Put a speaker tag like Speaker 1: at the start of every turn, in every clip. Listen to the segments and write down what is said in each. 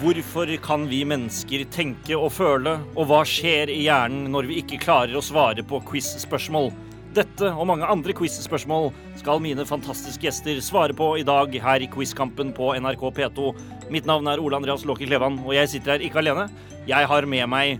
Speaker 1: Hvorfor kan vi mennesker tenke og føle, og hva skjer i hjernen når vi ikke klarer å svare på quiz-spørsmål? Dette og mange andre quiz-spørsmål skal mine fantastiske gjester svare på i dag her i Quizkampen på NRK P2. Mitt navn er Ole Andreas Låke Klevan, og jeg sitter her ikke alene. Jeg har med meg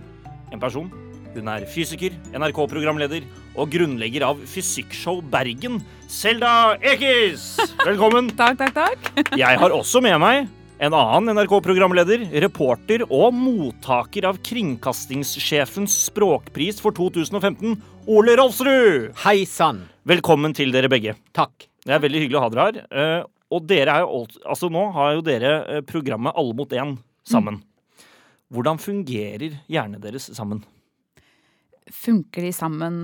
Speaker 1: en person. Hun er fysiker, NRK-programleder og grunnlegger av Fysikkshow Bergen, Selda Ekiz. Velkommen.
Speaker 2: Takk, takk, takk.
Speaker 1: Jeg har også med meg en annen NRK-programleder, reporter og mottaker av Kringkastingssjefens språkpris for 2015, Ole Rolfsrud.
Speaker 3: Hei sann.
Speaker 1: Velkommen til dere begge.
Speaker 3: Takk.
Speaker 1: Det er veldig hyggelig å ha dere her. Eh, Og dere er jo alt, altså nå har jo dere eh, programmet Alle mot én sammen. Hvordan fungerer hjernen deres sammen?
Speaker 2: Funker de sammen,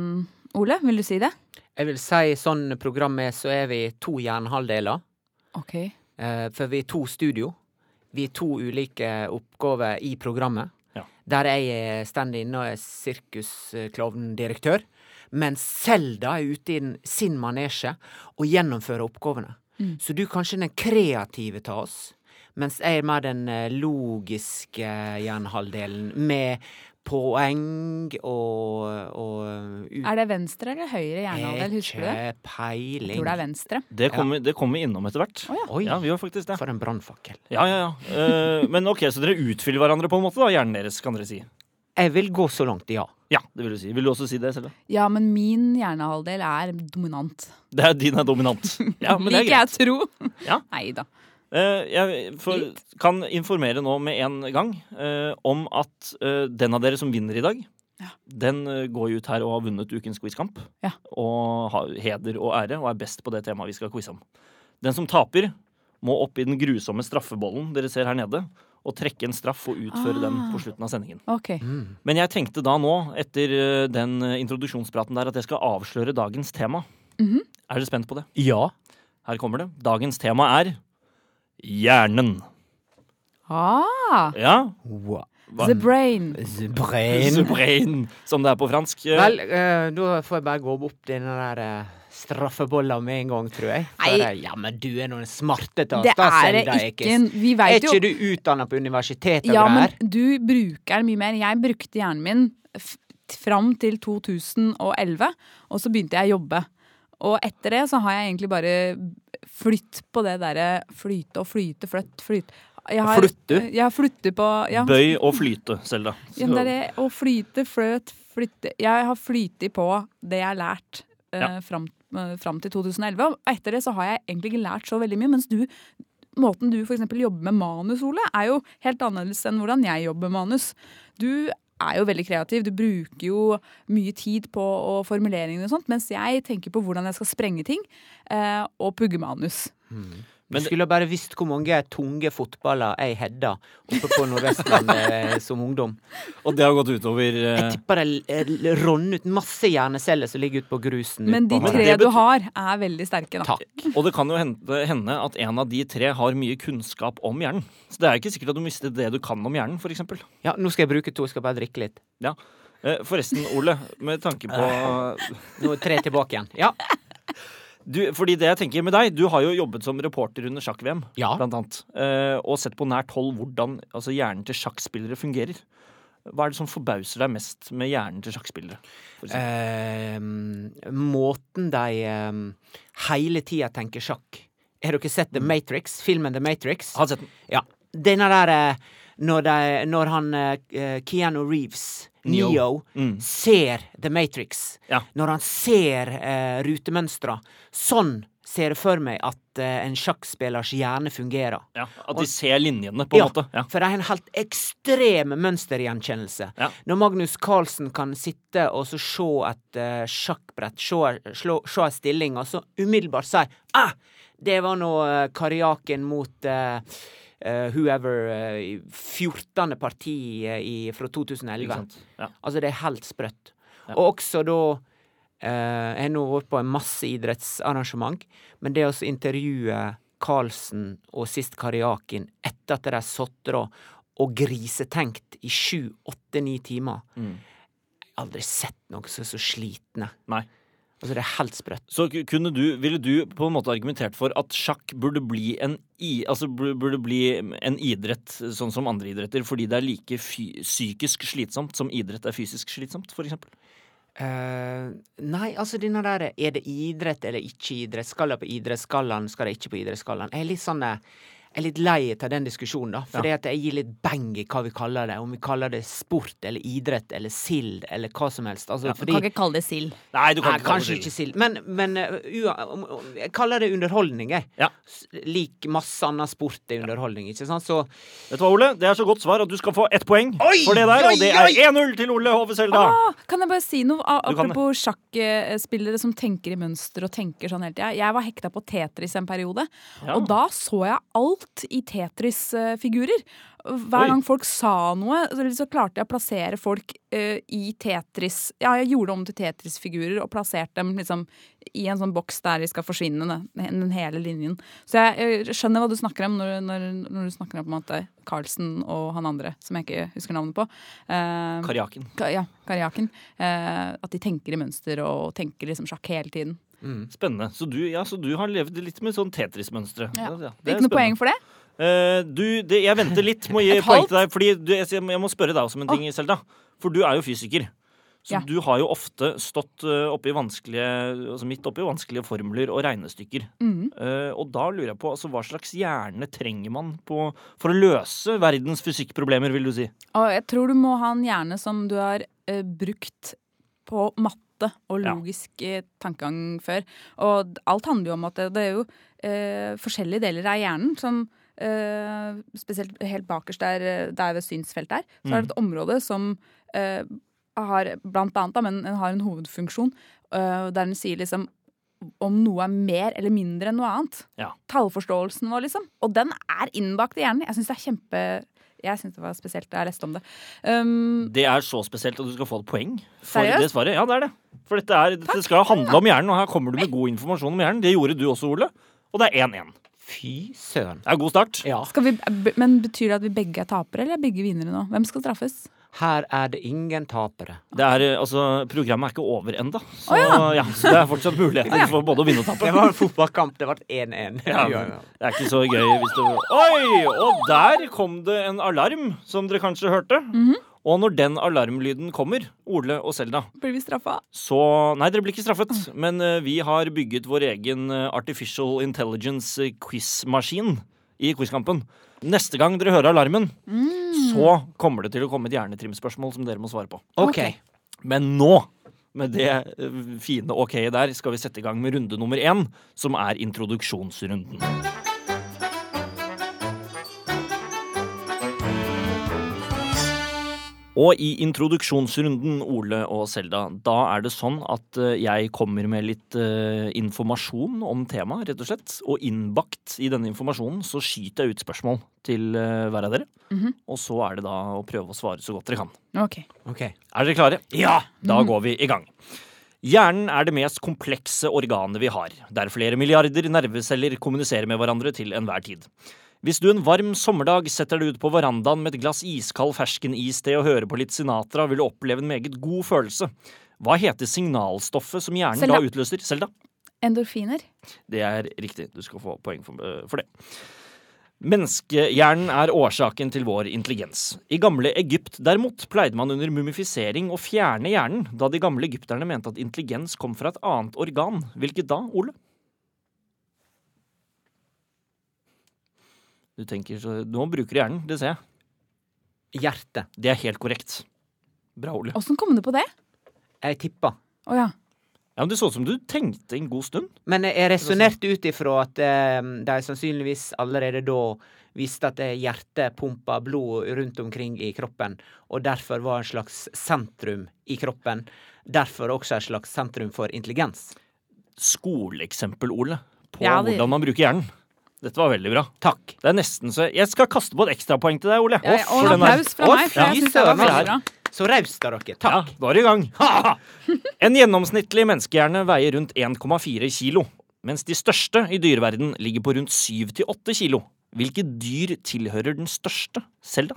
Speaker 2: Ole? Vil du si det?
Speaker 3: Jeg vil si sånn programmet så er vi to jernhalvdeler.
Speaker 2: Ok.
Speaker 3: eh, For vi er to studio. Vi er to ulike oppgaver i programmet.
Speaker 1: Ja.
Speaker 3: Der jeg står inne og er sirkusklovndirektør. Mens Selda er ute i den- sin manesje og gjennomfører oppgavene. Så du er kanskje den kreative av oss. Mens jeg er mer den eh, logiske eh, jernhalvdelen med poeng og, eh, og ut-
Speaker 2: Er det venstre eller høyre
Speaker 1: Eh,
Speaker 2: hjernehalvdel? Husker du det?
Speaker 3: Ikke peiling.
Speaker 2: Jeg tror det er venstre.
Speaker 1: Det kommer det kommer vi innom etter hvert.
Speaker 2: Å ja.
Speaker 3: Oi,
Speaker 1: Ja, vi gjør faktisk det.
Speaker 3: for en brannfakkel.
Speaker 1: Ja, ja, ja. Eh, men ok, så dere utfyller hverandre på en måte, da, hjernen deres, kan dere si.
Speaker 3: Jeg vil gå så langt, ja.
Speaker 1: Ja, det vil du si. Vil du også si det, Selda?
Speaker 2: Ja, men min hjernehalvdel er dominant.
Speaker 1: Det er din er dominant. Ja, men det er
Speaker 2: Liker
Speaker 1: greit.
Speaker 2: jeg tro.
Speaker 1: Ja.
Speaker 2: Nei da.
Speaker 1: Eh, Jeg får, kan informere nå med en gang eh, om at eh, den av dere som vinner i dag,
Speaker 2: Ja.
Speaker 1: den eh, går jo ut her og har vunnet ukens quizkamp.
Speaker 2: Ja.
Speaker 1: Og har heder og ære og er best på det temaet vi skal quize om. Den som taper, må opp i den grusomme straffebollen dere ser her nede, og trekke en straff og utføre den
Speaker 2: Ah.
Speaker 1: på slutten av sendingen.
Speaker 2: Ok.
Speaker 1: Men jeg tenkte da nå, etter eh, den eh, introduksjonspraten der, at jeg skal avsløre dagens tema.
Speaker 2: Mhm.
Speaker 1: Er dere spent på det?
Speaker 3: Ja.
Speaker 1: Her kommer det. Dagens tema er hjernen.
Speaker 2: Ah,
Speaker 1: Ja,
Speaker 3: Wow.
Speaker 1: hva-
Speaker 2: the brain.
Speaker 3: The
Speaker 1: The
Speaker 3: brain.
Speaker 1: brain, som det er på fransk. Eh,
Speaker 3: Vel, eh, da får jeg bare gå opp denne der eh, straffebolla med en gang, tror jeg. For,
Speaker 2: Nei.
Speaker 3: eh, ja, men du er nå den smarte av oss,
Speaker 2: Det
Speaker 3: da,
Speaker 2: er det
Speaker 3: Selda
Speaker 2: ikke.
Speaker 3: Ekiz.
Speaker 2: Vi
Speaker 3: Er
Speaker 2: veit jo
Speaker 3: ikke du utdanna på universitetet
Speaker 2: Ja,
Speaker 3: og
Speaker 2: men
Speaker 3: greier?
Speaker 2: du bruker den mye mer. Jeg brukte hjernen min f- fram til 2011, og så begynte jeg å jobbe. Og etter det så har jeg egentlig bare flytt på det derre flyte og flyte, fløtt, flyte. Jeg har,
Speaker 3: Flytte?
Speaker 2: Jeg har flytte på ja,
Speaker 1: Bøy og flyte, Selda.
Speaker 2: ja, men det er det. Å flyte, fløt, flytte. Jeg har flyttet på det jeg har lært eh,
Speaker 1: Ja.
Speaker 2: fram, eh, fram til 2011. Og etter det så har jeg egentlig ikke lært så veldig mye, mens du Måten du for eksempel jobber med manus, Ole, er jo helt annerledes enn hvordan jeg jobber med manus. Du er jo veldig kreativ, du bruker jo mye tid på å formuleringene og sånt, mens jeg tenker på hvordan jeg skal sprenge ting eh, og pugge manus.
Speaker 3: Du skulle bare visst hvor mange tunge fotballer jeg hedda oppe på Nordvestlandet eh, som ungdom.
Speaker 1: Og det har gått eh, utover
Speaker 3: Jeg tipper det ronner ut masse hjerneceller som ligger ute på grusen.
Speaker 2: Men
Speaker 3: ute
Speaker 2: de
Speaker 3: på
Speaker 2: tre
Speaker 1: det
Speaker 2: du
Speaker 1: betyr-
Speaker 2: har, er veldig sterke, da.
Speaker 3: Takk.
Speaker 1: Og det kan jo hende, hende at en av de tre har mye kunnskap om hjernen. Så det er ikke sikkert at du mister det du kan om hjernen, for eksempel.
Speaker 3: Ja, nå skal jeg bruke to, jeg skal bare drikke litt.
Speaker 1: Ja. Eh, Forresten, Ole, med tanke på eh,
Speaker 3: Nå er tre tilbake igjen. Ja.
Speaker 1: du, Fordi det jeg tenker med deg, du har jo jobbet som reporter under sjakk-VM.
Speaker 3: ja.
Speaker 1: blant annet. Eh, og sett på nært hold hvordan altså, hjernen til sjakkspillere fungerer. Hva er det som forbauser deg mest med hjernen til sjakkspillere? for eksempel?
Speaker 3: Ehm, måten de ehm, hele tida tenker sjakk Har dere sett
Speaker 1: Mm.
Speaker 3: The Matrix? Filmen The Matrix?
Speaker 1: Har sett den.
Speaker 3: Ja. Denne der eh, når, de, når han eh, Keanu Reeves,
Speaker 1: Neo.
Speaker 3: Neo,
Speaker 1: Mm.
Speaker 3: ser The Matrix.
Speaker 1: Ja.
Speaker 3: Når han ser uh, rutemønstra. Sånn ser jeg for meg at eh, en sjakkspillers hjerne fungerer.
Speaker 1: Ja, at de ser linjene, på en
Speaker 3: Ja,
Speaker 1: måte. Ja.
Speaker 3: For de har en helt ekstrem mønstergjenkjennelse.
Speaker 1: Ja.
Speaker 3: Når Magnus Carlsen kan sitte og så se et eh, sjakkbrett, se, slå, se en stilling, og så umiddelbart si ah, det var nå eh, Karjakin mot eh, eh, whoever eh, i 14. parti eh, i, fra
Speaker 1: Ikke
Speaker 3: 2011.
Speaker 1: sant? Ja.
Speaker 3: Altså, det er helt sprøtt.
Speaker 1: Ja.
Speaker 3: Og også da eh, Jeg har nå vært på en masse idrettsarrangement, men det å så intervjue Karlsen og sist Karjakin etter at de sotra og grisetenkt i sju, åtte, ni timer
Speaker 1: Mm.
Speaker 3: Aldri sett noen som er så slitne.
Speaker 1: Nei.
Speaker 3: Altså, det er helt sprøtt.
Speaker 1: Så ku- kunne du, ville du på en måte argumentert for at sjakk burde bli en, i, altså bur- burde bli en idrett sånn som andre idretter, fordi det er like fy, psykisk slitsomt som idrett er fysisk slitsomt, for eksempel?
Speaker 3: Eh, nei, altså denne der Er det idrett eller ikke idrett? Skal jeg på idrettsgallaen, skal jeg ikke på idrettsgallaen? Jeg er litt sånn eh, jeg er litt lei av den diskusjonen, da. For at jeg gir litt beng i hva vi kaller det. Om vi kaller det sport eller idrett eller sild eller hva som helst. Altså,
Speaker 4: Du
Speaker 3: fordi
Speaker 4: kan ikke kalle det sild.
Speaker 1: Nei, du kan
Speaker 3: Nei,
Speaker 1: ikke kalle
Speaker 3: kanskje
Speaker 1: det
Speaker 3: ikke
Speaker 1: det.
Speaker 3: sild. Men, men eh, ua- om- om- jeg kaller det underholdning, jeg.
Speaker 1: Ja.
Speaker 3: S- Lik masse annen sport er underholdning, ikke sant? Så
Speaker 1: Vet du hva, Ole? Det er så godt svar at du skal få ett poeng
Speaker 3: Oi,
Speaker 1: for det der, og det
Speaker 3: oi,
Speaker 1: er 1-0 til Ole Hove Selda.
Speaker 2: Ah, kan jeg bare si noe a-
Speaker 1: Du kan det.
Speaker 2: apropos sjakkspillere som tenker i mønster og tenker sånn hele tida? Jeg var hekta på Tetris en periode,
Speaker 1: Ja.
Speaker 2: og da så jeg alt i Tetris-figurer. Hver
Speaker 1: Oi.
Speaker 2: gang folk sa noe, så- så klarte jeg å plassere folk eh, i Tetris. Ja, jeg gjorde om til Tetris-figurer og plasserte dem liksom i en sånn boks der de skal forsvinne, da, den hele linjen. Så jeg eh, skjønner hva du snakker om når, når, når du snakker om på en måte Carlsen og han andre, som jeg ikke husker navnet på. Eh,
Speaker 1: Karjaken.
Speaker 2: Ka- Ja, Karjakin. Eh, at de tenker i mønster og tenker liksom sjakk hele tiden.
Speaker 3: Mm.
Speaker 1: Spennende. Så du, ja, så du har levd litt med sånn Tetris-mønstre.
Speaker 2: Ja.
Speaker 1: Ja, det er
Speaker 2: Ikke noe
Speaker 1: spennende.
Speaker 2: poeng for det?
Speaker 1: Eh, du, det, jeg venter litt med å gi
Speaker 2: Et
Speaker 1: poeng
Speaker 2: halvt?
Speaker 1: til deg, fordi du, jeg, jeg må spørre deg også om en ting, Selda. For du er jo fysiker. Så
Speaker 2: Ja.
Speaker 1: du har jo ofte stått eh, oppe i vanskelige, altså midt oppi vanskelige formler og regnestykker.
Speaker 2: Mm.
Speaker 1: Eh, og da lurer jeg på altså, hva slags hjerne trenger man på, for å løse verdens fysikkproblemer, vil du si?
Speaker 2: Og jeg tror du må ha en hjerne som du har eh, brukt på matte og
Speaker 1: Ja.
Speaker 2: logisk eh, tankegang før. Og d- alt handler jo om at det, det er jo eh, forskjellige deler av hjernen som eh, Spesielt helt bakerst der, eh, der ved synsfeltet er, så er det et område som eh, har blant annet, da, men den har en hovedfunksjon eh, der den sier liksom om noe er mer eller mindre enn noe annet.
Speaker 1: Ja.
Speaker 2: Tallforståelsen vår, liksom. Og den er innbakt i hjernen. Jeg syns det er kjempe Jeg synes det var spesielt da jeg leste om det. Um,
Speaker 1: Det er så spesielt at du skal få et poeng for
Speaker 2: Seriøst?
Speaker 1: det svaret. Ja, det er det. For dette, er, dette skal handle om hjernen, og her kommer du med god informasjon om hjernen. Det gjorde du også, Ole. Og det er 1-1.
Speaker 3: fy søren.
Speaker 1: Det er god start.
Speaker 3: Ja.
Speaker 2: skal vi, b- men betyr det at vi begge er tapere, eller er begge vinnere nå? Hvem skal straffes?
Speaker 3: Her er det ingen tapere.
Speaker 1: Det er, eh, altså, programmet er ikke over ennå, så, ja. så det er fortsatt muligheter for både å vinne og tape.
Speaker 3: Det var en fotballkamp. Det ble 1-1.
Speaker 1: Ja, det er ikke så gøy hvis du Oi! Og der kom det en alarm, som dere kanskje hørte. Og når den alarmlyden kommer, Ole og Selda,
Speaker 2: Blir vi straffa?
Speaker 1: så Nei, dere blir ikke straffet, men eh, vi har bygget vår egen eh, artificial intelligence eh, quizmaskin i quizkampen. Neste gang dere hører alarmen, så kommer det til å komme et hjernetrimspørsmål som dere må svare på.
Speaker 3: OK.
Speaker 1: Men nå, med det eh, fine ok-et der, skal vi sette i gang med runde nummer én, som er introduksjonsrunden. Og i introduksjonsrunden, Ole og Selda, da er det sånn at eh, jeg kommer med litt eh, informasjon om temaet, rett og slett. Og innbakt i denne informasjonen så skyter jeg ut spørsmål til eh, hver av dere. Og så er det da å prøve å svare så godt dere kan.
Speaker 2: Ok.
Speaker 3: ok.
Speaker 1: Er dere klare? Ja! Da går vi i gang. Hjernen er det mest komplekse organet vi har, der flere milliarder nerveceller kommuniserer med hverandre til enhver tid. Hvis du en varm sommerdag setter deg ut på verandaen med et glass iskald ferskenis til og hører på litt Sinatra, vil du oppleve en meget god følelse. Hva heter signalstoffet som hjernen
Speaker 2: Selda.
Speaker 1: da utløser? Selda?
Speaker 2: Endorfiner.
Speaker 1: Det er riktig. Du skal få poeng for, øh, for det. Menneskehjernen er årsaken til vår intelligens. I gamle Egypt derimot pleide man under mumifisering å fjerne hjernen, da de gamle egypterne mente at intelligens kom fra et annet organ. Hvilket da, Ole? Du tenker så Nå bruker du hjernen, det ser jeg.
Speaker 3: Hjerte.
Speaker 1: Det er helt korrekt. Bra, Ole.
Speaker 2: Åssen kom du på det?
Speaker 3: Jeg tippa.
Speaker 2: Å ja.
Speaker 1: Ja, men Det så ut som du tenkte en god stund.
Speaker 3: Men jeg resonnerte ut ifra at eh, de sannsynligvis allerede da visste at eh, hjertet pumpa blod rundt omkring i kroppen, og derfor var en slags sentrum i kroppen. Derfor også et slags sentrum for intelligens.
Speaker 1: Skoleeksempel, Ole, på
Speaker 2: Ja, det-
Speaker 1: hvordan man bruker hjernen. Dette var veldig bra.
Speaker 3: Takk.
Speaker 1: Det er nesten så Jeg skal kaste på et ekstrapoeng til deg, Ole.
Speaker 2: ja, ja.
Speaker 1: Å,
Speaker 2: Og
Speaker 1: for den
Speaker 2: en
Speaker 1: her-
Speaker 2: applaus fra
Speaker 3: Å,
Speaker 2: meg, for jeg
Speaker 3: fy
Speaker 2: syns det var
Speaker 3: søren.
Speaker 2: veldig bra.
Speaker 3: Så raust av dere.
Speaker 1: Ja,
Speaker 3: Takk.
Speaker 1: da er det i gang. En gjennomsnittlig menneskehjerne veier rundt 1,4 kilo, mens de største i dyreverden ligger på rundt 7-8 kilo. Hvilke dyr tilhører den største selv, da?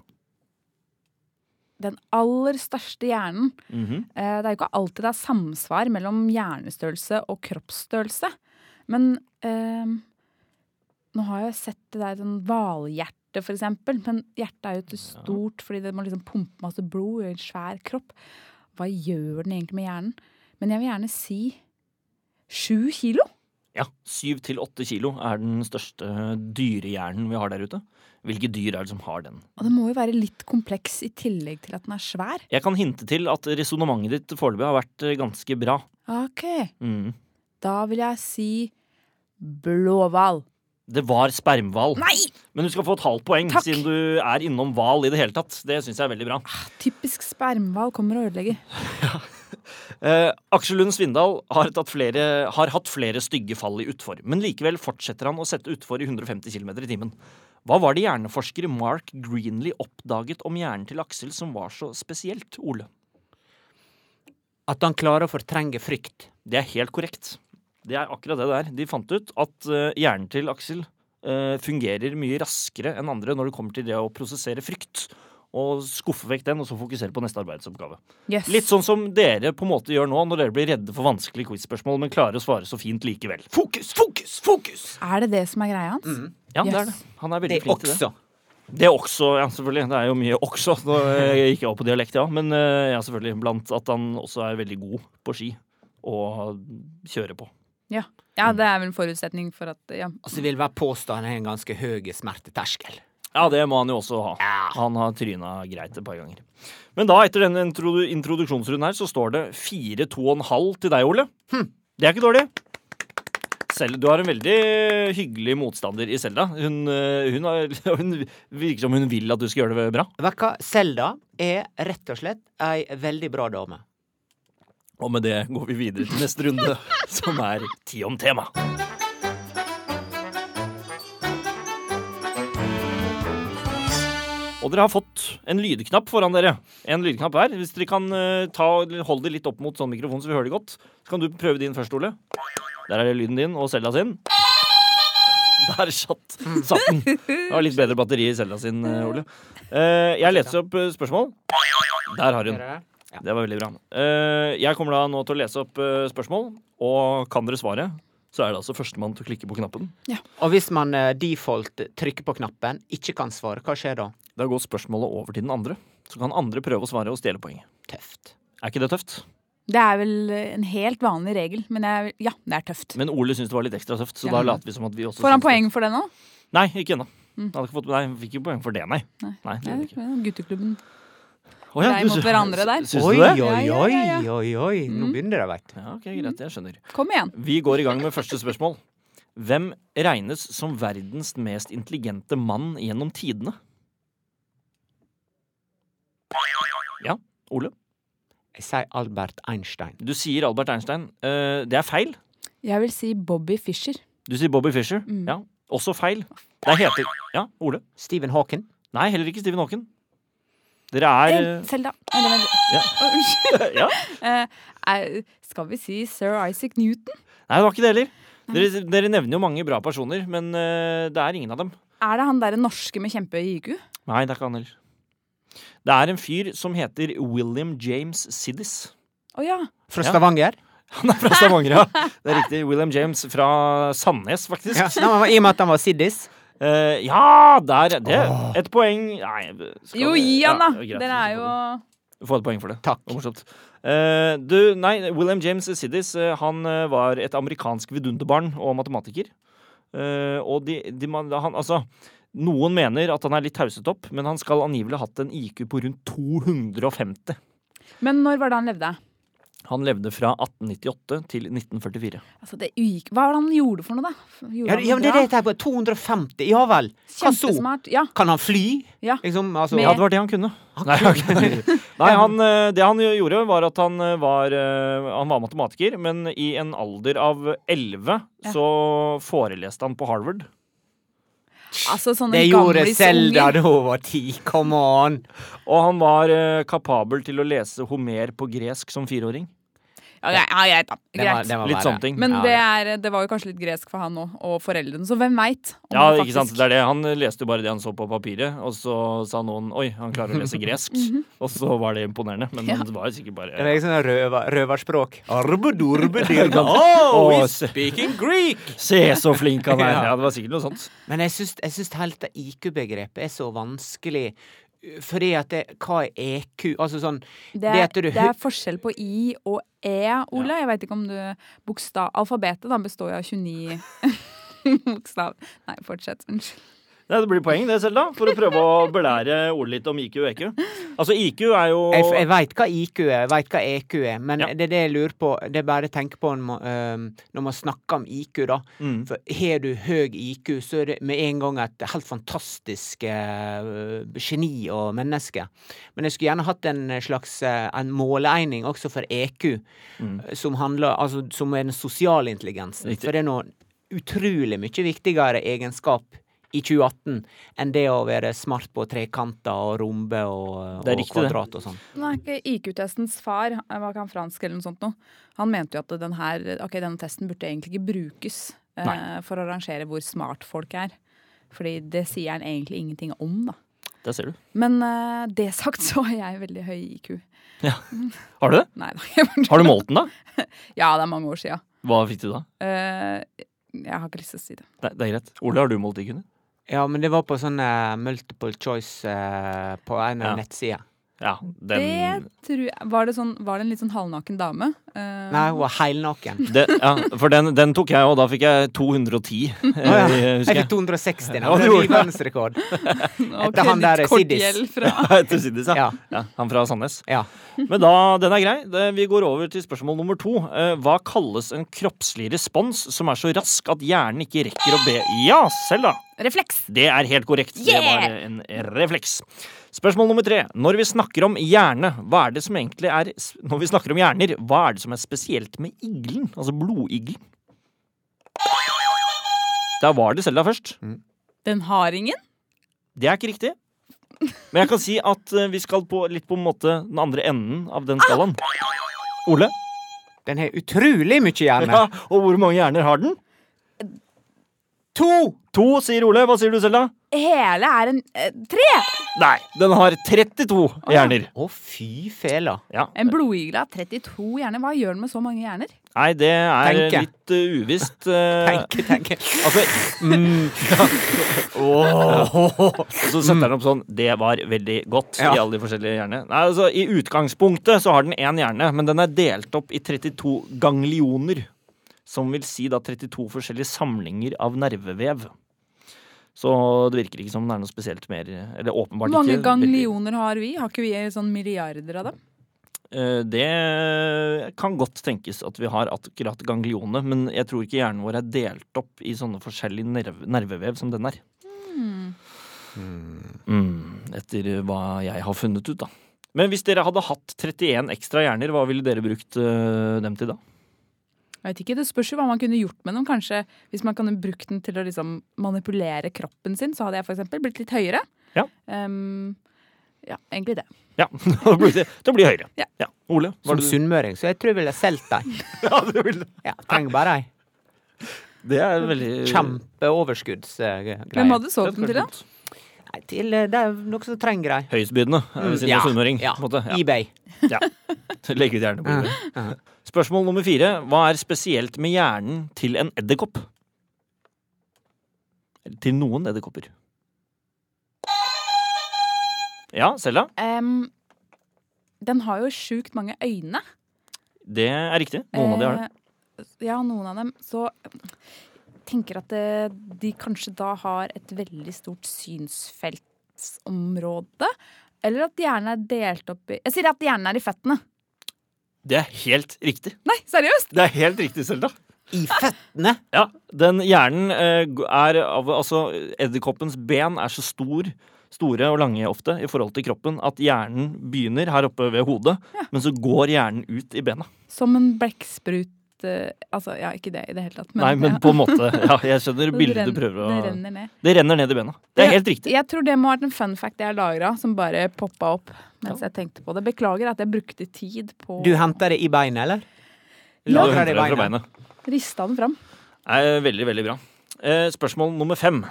Speaker 2: den aller største hjernen. Eh, Det er jo ikke alltid det er samsvar mellom hjernestørrelse og kroppsstørrelse. Men eh, nå har jeg sett det der sånn hvalhjerte, for eksempel. Men hjertet er jo ikke stort fordi det må liksom pumpe masse blod i en svær kropp. Hva gjør den egentlig med hjernen? Men jeg vil gjerne si sju kilo.
Speaker 1: Ja, syv til åtte kilo er den største dyrehjernen vi har der ute. Hvilke dyr er det som har den?
Speaker 2: Og det må jo være litt kompleks i tillegg til at den er svær.
Speaker 1: Jeg kan hinte til at resonnementet ditt foreløpig har vært eh, ganske bra.
Speaker 2: Ok,
Speaker 1: Mm.
Speaker 2: da vil jeg si blåhval.
Speaker 1: Det var spermhval.
Speaker 2: Nei!
Speaker 1: Men du skal få et halvt poeng
Speaker 2: Takk.
Speaker 1: siden du er innom hval i det hele tatt. Det syns jeg er veldig bra.
Speaker 2: Ah, Typisk spermhval kommer og ødelegger.
Speaker 1: Eh, Aksel Lund Svindal har, tatt flere, har hatt flere stygge fall i utfor, men likevel fortsetter han å sette utfor i 150 km i timen. Hva var det hjerneforsker Mark Greenley oppdaget om hjernen til Aksel som var så spesielt, Ole?
Speaker 3: At han klarer å fortrenge frykt.
Speaker 1: Det er helt korrekt. Det er akkurat det det er. De fant ut at eh, hjernen til Aksel eh, fungerer mye raskere enn andre når det kommer til det å prosessere frykt. Og skuffe vekk den, og så fokusere på neste arbeidsoppgave.
Speaker 2: Yes.
Speaker 1: Litt sånn som dere på en måte gjør nå når dere blir redde for vanskelige quizspørsmål, men klarer å svare så fint likevel. Fokus, fokus, fokus!
Speaker 2: Er det det som er greia hans?
Speaker 1: Ja, det
Speaker 2: Yes.
Speaker 1: er det. Han er veldig
Speaker 3: Det er
Speaker 1: flink til det.
Speaker 3: også.
Speaker 1: Det er også, ja, selvfølgelig. Det er jo mye også. Nå eh, gikk jeg opp på dialekt, ja. Men eh, ja, selvfølgelig. Blant at han også er veldig god på ski og kjører på.
Speaker 2: Ja. ja, det er vel en forutsetning for at ja.
Speaker 3: Altså vil være påstanden er en ganske høy smerteterskel.
Speaker 1: Ja, det må han jo også ha. Han har tryna greit et par ganger. Men da, etter denne introdu introduksjonsrunden her, så står det 4-2,5 til deg, Ole. Det er ikke dårlig. Selv, du har en veldig hyggelig motstander i Selda. Hun, eh, hun, har- hun virker som hun vil at du skal gjøre det bra.
Speaker 3: Vet du hva? Selda er rett og slett ei veldig bra dame.
Speaker 1: Og med det går vi videre til neste runde, som er Ti om tema. Og dere har fått en lydknapp foran dere. En lydknapp hver. Hvis dere kan eh, ta, holde det litt opp mot sånn mikrofon, så vi hører det godt, så kan du prøve din først, Ole. Der er det lyden din og Selda sin. Der satt, satt den. Det var litt bedre batteri i Selda sin, eh, Ole. Eh, jeg leser opp eh, spørsmål. Der har hun. Det var veldig bra. Eh, jeg kommer da nå til å lese opp eh, spørsmål, og kan dere svaret, så er det altså førstemann til å klikke på knappen.
Speaker 3: Og hvis man eh, default trykker på knappen, ikke kan svare, hva skjer da?
Speaker 1: Da går spørsmålet over til den andre. Så kan andre prøve å svare og stjele poeng.
Speaker 3: Tøft.
Speaker 1: Er ikke det tøft?
Speaker 2: Det er vel en helt vanlig regel, men jeg, vil- ja, det er tøft.
Speaker 1: Men Ole syns det var litt ekstra tøft, så
Speaker 2: Ja.
Speaker 1: da later vi som at vi også
Speaker 2: Får han
Speaker 1: syns det.
Speaker 2: poeng for det nå?
Speaker 1: Nei, ikke ennå. Han hadde ikke fått, nei, han fikk ikke poeng for det, nei.
Speaker 2: Nei.
Speaker 1: nei det
Speaker 2: Ja,
Speaker 1: gjorde han ikke.
Speaker 2: gutteklubben.
Speaker 1: Å ja,
Speaker 2: Nei,
Speaker 1: du
Speaker 2: mot
Speaker 1: sy-
Speaker 2: hverandre der.
Speaker 1: Syns
Speaker 3: oi,
Speaker 1: du det?
Speaker 3: oi,
Speaker 2: Ja, ja,
Speaker 3: oi,
Speaker 2: ja, Mm.
Speaker 3: oi, oi. Nå begynner det, veit du.
Speaker 1: Ja, ok, greit, jeg skjønner.
Speaker 2: Kom igjen.
Speaker 1: Vi går i gang med første spørsmål. Hvem regnes som verdens mest intelligente mann gjennom tidene? Ja, Ole.
Speaker 3: Jeg sier Albert Einstein.
Speaker 1: Du sier Albert Einstein. Eh, det er feil.
Speaker 2: Jeg vil si Bobby Fischer.
Speaker 1: Du sier Bobby Fischer. Ja, også feil. Det heter Ja, Ole.
Speaker 3: Stephen Hawking.
Speaker 1: Nei, heller ikke Stephen Hawking. Dere er
Speaker 2: Eh, Selda. Eller, vent.
Speaker 1: Ja.
Speaker 2: Å, Unnskyld.
Speaker 1: Ja.
Speaker 2: Eh, er- Skal vi si sir Isaac Newton?
Speaker 1: Nei, det var ikke det heller. Dere, dere nevner jo mange bra personer, men eh, det er ingen av dem.
Speaker 2: Er det han derre norske med kjempehøy IQ?
Speaker 1: Nei, det er ikke han heller. Det er en fyr som heter William James Siddis.
Speaker 2: Å ja.
Speaker 3: Fra
Speaker 1: Ja.
Speaker 3: Stavanger.
Speaker 1: Han er fra Stavanger, ja. Det er riktig. William James fra Sandnes, faktisk.
Speaker 3: Ja.
Speaker 1: Ja,
Speaker 3: Nei, men I og med at han var siddis.
Speaker 1: ja der det. Et poeng Nei, skal
Speaker 2: Jo,
Speaker 1: vi-
Speaker 2: gi han, da!
Speaker 1: Ja, greit.
Speaker 2: Dere er jo
Speaker 1: Du får et poeng for det.
Speaker 3: Takk.
Speaker 1: Det var morsomt. Eh, du, nei, William James Siddis eh, han eh, var et amerikansk vidunderbarn og matematiker. Eh, og de, de, man- han, altså, noen mener at han er litt hauset opp, men han skal angivelig ha hatt en IQ på rundt 250.
Speaker 2: Men når var det han levde?
Speaker 1: Han levde fra 1898 til 1944.
Speaker 2: Altså, det uik... Hva var det han gjorde for noe, da? Gjorde
Speaker 3: Ja,
Speaker 2: han
Speaker 3: ja, men det er
Speaker 2: bra?
Speaker 3: det jeg tenker på. 250. Ja vel. Hva så?
Speaker 2: Kjempesmart. Ja.
Speaker 3: Kan han fly?
Speaker 2: Ja.
Speaker 3: Liksom, altså,
Speaker 2: Med-
Speaker 1: Ja, det var det han kunne. Nei, ok. Nei han, eh, det han gjorde, var at han eh, var, eh, han var matematiker, men i en alder av 11
Speaker 2: Ja.
Speaker 1: så foreleste han på Harvard.
Speaker 2: Altså sånne
Speaker 3: Det gjorde Selda
Speaker 2: gamlisunger.
Speaker 3: da hun var ti. Come on.
Speaker 1: Og han var eh, kapabel til å lese Homer på gresk som fireåring.
Speaker 2: Ja, greit, ja, greit da.
Speaker 3: Det var-
Speaker 2: Greit.
Speaker 3: det var
Speaker 1: Litt
Speaker 3: verre.
Speaker 1: sånne ting.
Speaker 2: Men
Speaker 3: Ja,
Speaker 2: det, er, det var jo kanskje litt gresk for han òg, og foreldrene, så hvem veit?
Speaker 1: Ja, ikke sant, det er det. Han eh, leste jo bare det han så på papiret, og så sa noen oi, han klarer å lese gresk. Og så var det imponerende, men
Speaker 2: Ja.
Speaker 1: det var jo sikkert bare
Speaker 3: Det er liksom røver, røverspråk.
Speaker 1: Å,
Speaker 3: Oh,
Speaker 1: se-
Speaker 3: speaking Greek!
Speaker 1: Se så flink han er!
Speaker 3: Ja.
Speaker 1: Ja, det var sikkert noe sånt.
Speaker 3: Men jeg syns, jeg syns helt det IQ-begrepet er så vanskelig. eh, Fordi at det, Hva er EQ? Altså sånn
Speaker 2: Det
Speaker 3: Det
Speaker 2: er,
Speaker 3: at du-
Speaker 2: det er forskjell på I og E, Ole. Jeg veit ikke om du bokstav, Alfabetet da består jo av 29 bokstav. Nei, fortsett. Unnskyld.
Speaker 1: Nei, det blir poeng det, Selda, for å prøve å belære ordet litt om IQ og EQ. Altså, IQ er jo
Speaker 3: Jeg, jeg veit hva IQ er, jeg veit hva EQ er, men
Speaker 1: Ja.
Speaker 3: det er det jeg lurer på. Det er bare å tenke på når man, øhm, når man snakker om IQ, da.
Speaker 1: Mm.
Speaker 3: For har du høy IQ, så er det med en gang et helt fantastisk øh, geni og menneske. Men jeg skulle gjerne hatt en slags øh, en måleegning også for EQ,
Speaker 1: Mm.
Speaker 3: som, handler, altså, som er den sosiale intelligensen.
Speaker 1: Riktig.
Speaker 3: For det er noe utrolig mye viktigere egenskap i 2018 enn det å være smart på trekanter og rombe og,
Speaker 1: Det er
Speaker 3: og
Speaker 1: riktig, det.
Speaker 3: kvadrat og sånn.
Speaker 2: Nå er ikke IQ-testens far, han var ikke han fransk eller noe sånt noe, han mente jo at den her, ok, denne testen burde egentlig ikke brukes eh,
Speaker 1: Nei.
Speaker 2: for å rangere hvor smart folk er. Fordi det sier han egentlig ingenting om, da.
Speaker 1: Der ser du.
Speaker 2: Men eh, det sagt så har jeg veldig høy IQ.
Speaker 1: Har du det?
Speaker 2: Nei da. jeg bare-
Speaker 1: Har du målt den, da?
Speaker 2: Ja, det er mange år sia.
Speaker 1: Hva fikk du da?
Speaker 2: Eh, jeg har ikke lyst til å si det.
Speaker 1: Nei, det er greit. Ole, har du målt IQ-en?
Speaker 3: Ja, men det var på sånn eh, multiple choice eh, på en
Speaker 1: Ja.
Speaker 3: av nettsidene.
Speaker 1: Ja, den
Speaker 2: Det tror jeg Var det, sånn, var det en litt sånn halvnaken dame? Eh,
Speaker 3: Nei, hun var helnaken.
Speaker 1: det, ja, For den, den tok jeg, og da fikk jeg 210,
Speaker 3: ja.
Speaker 1: eh,
Speaker 3: Jeg
Speaker 1: husker jeg.
Speaker 3: fikk 260
Speaker 1: Ja,
Speaker 3: nå.
Speaker 1: du
Speaker 3: Det er
Speaker 1: gjorde
Speaker 3: ny verdensrekord.
Speaker 2: og
Speaker 3: etter han der
Speaker 2: kredittkortgjeld
Speaker 3: Siddis.
Speaker 2: fra
Speaker 1: Etter Siddis, ja.
Speaker 3: Ja.
Speaker 1: ja. Han fra Sandnes.
Speaker 3: Ja.
Speaker 1: Men da, den er grei. Det, vi går over til spørsmål nummer to. Eh, hva kalles en kroppslig respons som er så rask at hjernen ikke rekker å be Ja, selv da!
Speaker 2: Refleks!
Speaker 1: Det er helt korrekt. Det
Speaker 2: Yeah!
Speaker 1: var en refleks. Spørsmål nummer tre. Når vi snakker om hjerne, hva er det som egentlig er Når vi snakker om hjerner, hva er det som er spesielt med iglen? Altså blodiglen? Da var det Selda først.
Speaker 2: Den har ingen.
Speaker 1: Det er ikke riktig. Men jeg kan si at eh, vi skal på litt på en måte den andre enden av den skalaen. Ole?
Speaker 3: Den har utrolig mye hjerne.
Speaker 1: Ja, og hvor mange hjerner har den?
Speaker 3: To!
Speaker 1: To, sier Ole. Hva sier du selv, da?
Speaker 2: Hele er en eh, tre!
Speaker 1: Nei, den har 32 hjerner.
Speaker 3: Å, fy fela.
Speaker 1: Ja.
Speaker 2: En blodigle har 32 hjerner. Hva gjør den med så mange hjerner?
Speaker 1: Nei, det er
Speaker 3: Tenke.
Speaker 1: litt eh, uvisst. eh,
Speaker 3: Tenke, tenke.
Speaker 1: altså Og så setter den opp sånn. Det var veldig godt
Speaker 3: Ja.
Speaker 1: i alle de forskjellige hjernene. Nei, altså, I utgangspunktet så har den én hjerne, men den er delt opp i 32 ganglioner. Som vil si da 32 forskjellige samlinger av nervevev. Så det virker ikke som den er noe spesielt mer Eller åpenbart
Speaker 2: Hvor mange
Speaker 1: ikke.
Speaker 2: ganglioner har vi? Har ikke vi sånn milliarder av dem?
Speaker 1: Eh, Det kan godt tenkes at vi har akkurat ganglione, men jeg tror ikke hjernen vår er delt opp i sånne forskjellige nerve, nervevev som den er. Hmm. Mm, etter hva jeg har funnet ut, da. Men hvis dere hadde hatt 31 ekstra hjerner, hva ville dere brukt eh, dem til da?
Speaker 2: Jeg vet ikke, Det spørs jo hva man kunne gjort med dem. kanskje Hvis man kunne brukt den til å liksom manipulere kroppen sin, så hadde jeg for eksempel blitt litt høyere.
Speaker 1: Ja.
Speaker 2: Ehm, ja, egentlig det.
Speaker 1: Ja, da blir det til å bli høyere.
Speaker 2: Ja.
Speaker 1: Ole? hva er
Speaker 3: Som
Speaker 1: det du-
Speaker 3: sunnmøring, så jeg tror jeg ville solgt deg.
Speaker 1: Ja, du vil-
Speaker 3: Ja, trenger bare ei
Speaker 1: Det er veldig
Speaker 2: Hvem
Speaker 3: kjempeoverskuddsgreie.
Speaker 2: hadde solgt den til, da?
Speaker 3: Nei, Til eh, det er noen som trenger ei.
Speaker 1: Høyestbydende, ved siden av sunnmøring.
Speaker 3: ja.
Speaker 1: på en måte. Ja.
Speaker 3: eBay.
Speaker 1: Legg ut gjerne på bordet. Spørsmål nummer fire. Hva er spesielt med hjernen til en edderkopp? Eller til noen edderkopper. Ja, Selda.
Speaker 2: Ehm, den har jo sjukt mange øyne.
Speaker 1: Det er riktig. Noen av de har det.
Speaker 2: Eh, Ja, noen av dem. Så jeg tenker at eh, de kanskje da har et veldig stort synsfeltsområde. Eller at hjernen er delt opp i Jeg sier at hjernen er i føttene.
Speaker 1: Det er helt riktig.
Speaker 2: Nei, seriøst!
Speaker 1: Det er helt riktig, Selda.
Speaker 3: I føttene!
Speaker 1: Ja, den hjernen eh, er av Altså, edderkoppens ben er så stor, store og lange ofte i forhold til kroppen at hjernen begynner her oppe ved hodet, men så går hjernen ut i bena.
Speaker 2: Som en blekksprut eh, Altså, ja, ikke det i det hele tatt,
Speaker 1: Nei, men
Speaker 2: ja,
Speaker 1: på en måte. Ja, jeg skjønner
Speaker 2: det
Speaker 1: bildet
Speaker 2: renn-
Speaker 1: du prøver å
Speaker 2: Det renner ned.
Speaker 1: Det renner ned i bena. Det er helt riktig.
Speaker 2: Jeg tror det må ha vært en fun fact jeg lagra, som bare poppa opp mens jeg tenkte på det. Beklager at jeg brukte tid på
Speaker 3: Du henter det i beinet, eller?
Speaker 1: La du
Speaker 3: Lagrer det
Speaker 1: hindre
Speaker 3: i
Speaker 1: deg fra
Speaker 3: beina.
Speaker 1: beinet.
Speaker 2: Rista den fram.
Speaker 1: Er veldig, veldig bra. Eh, Spørsmål nummer fem.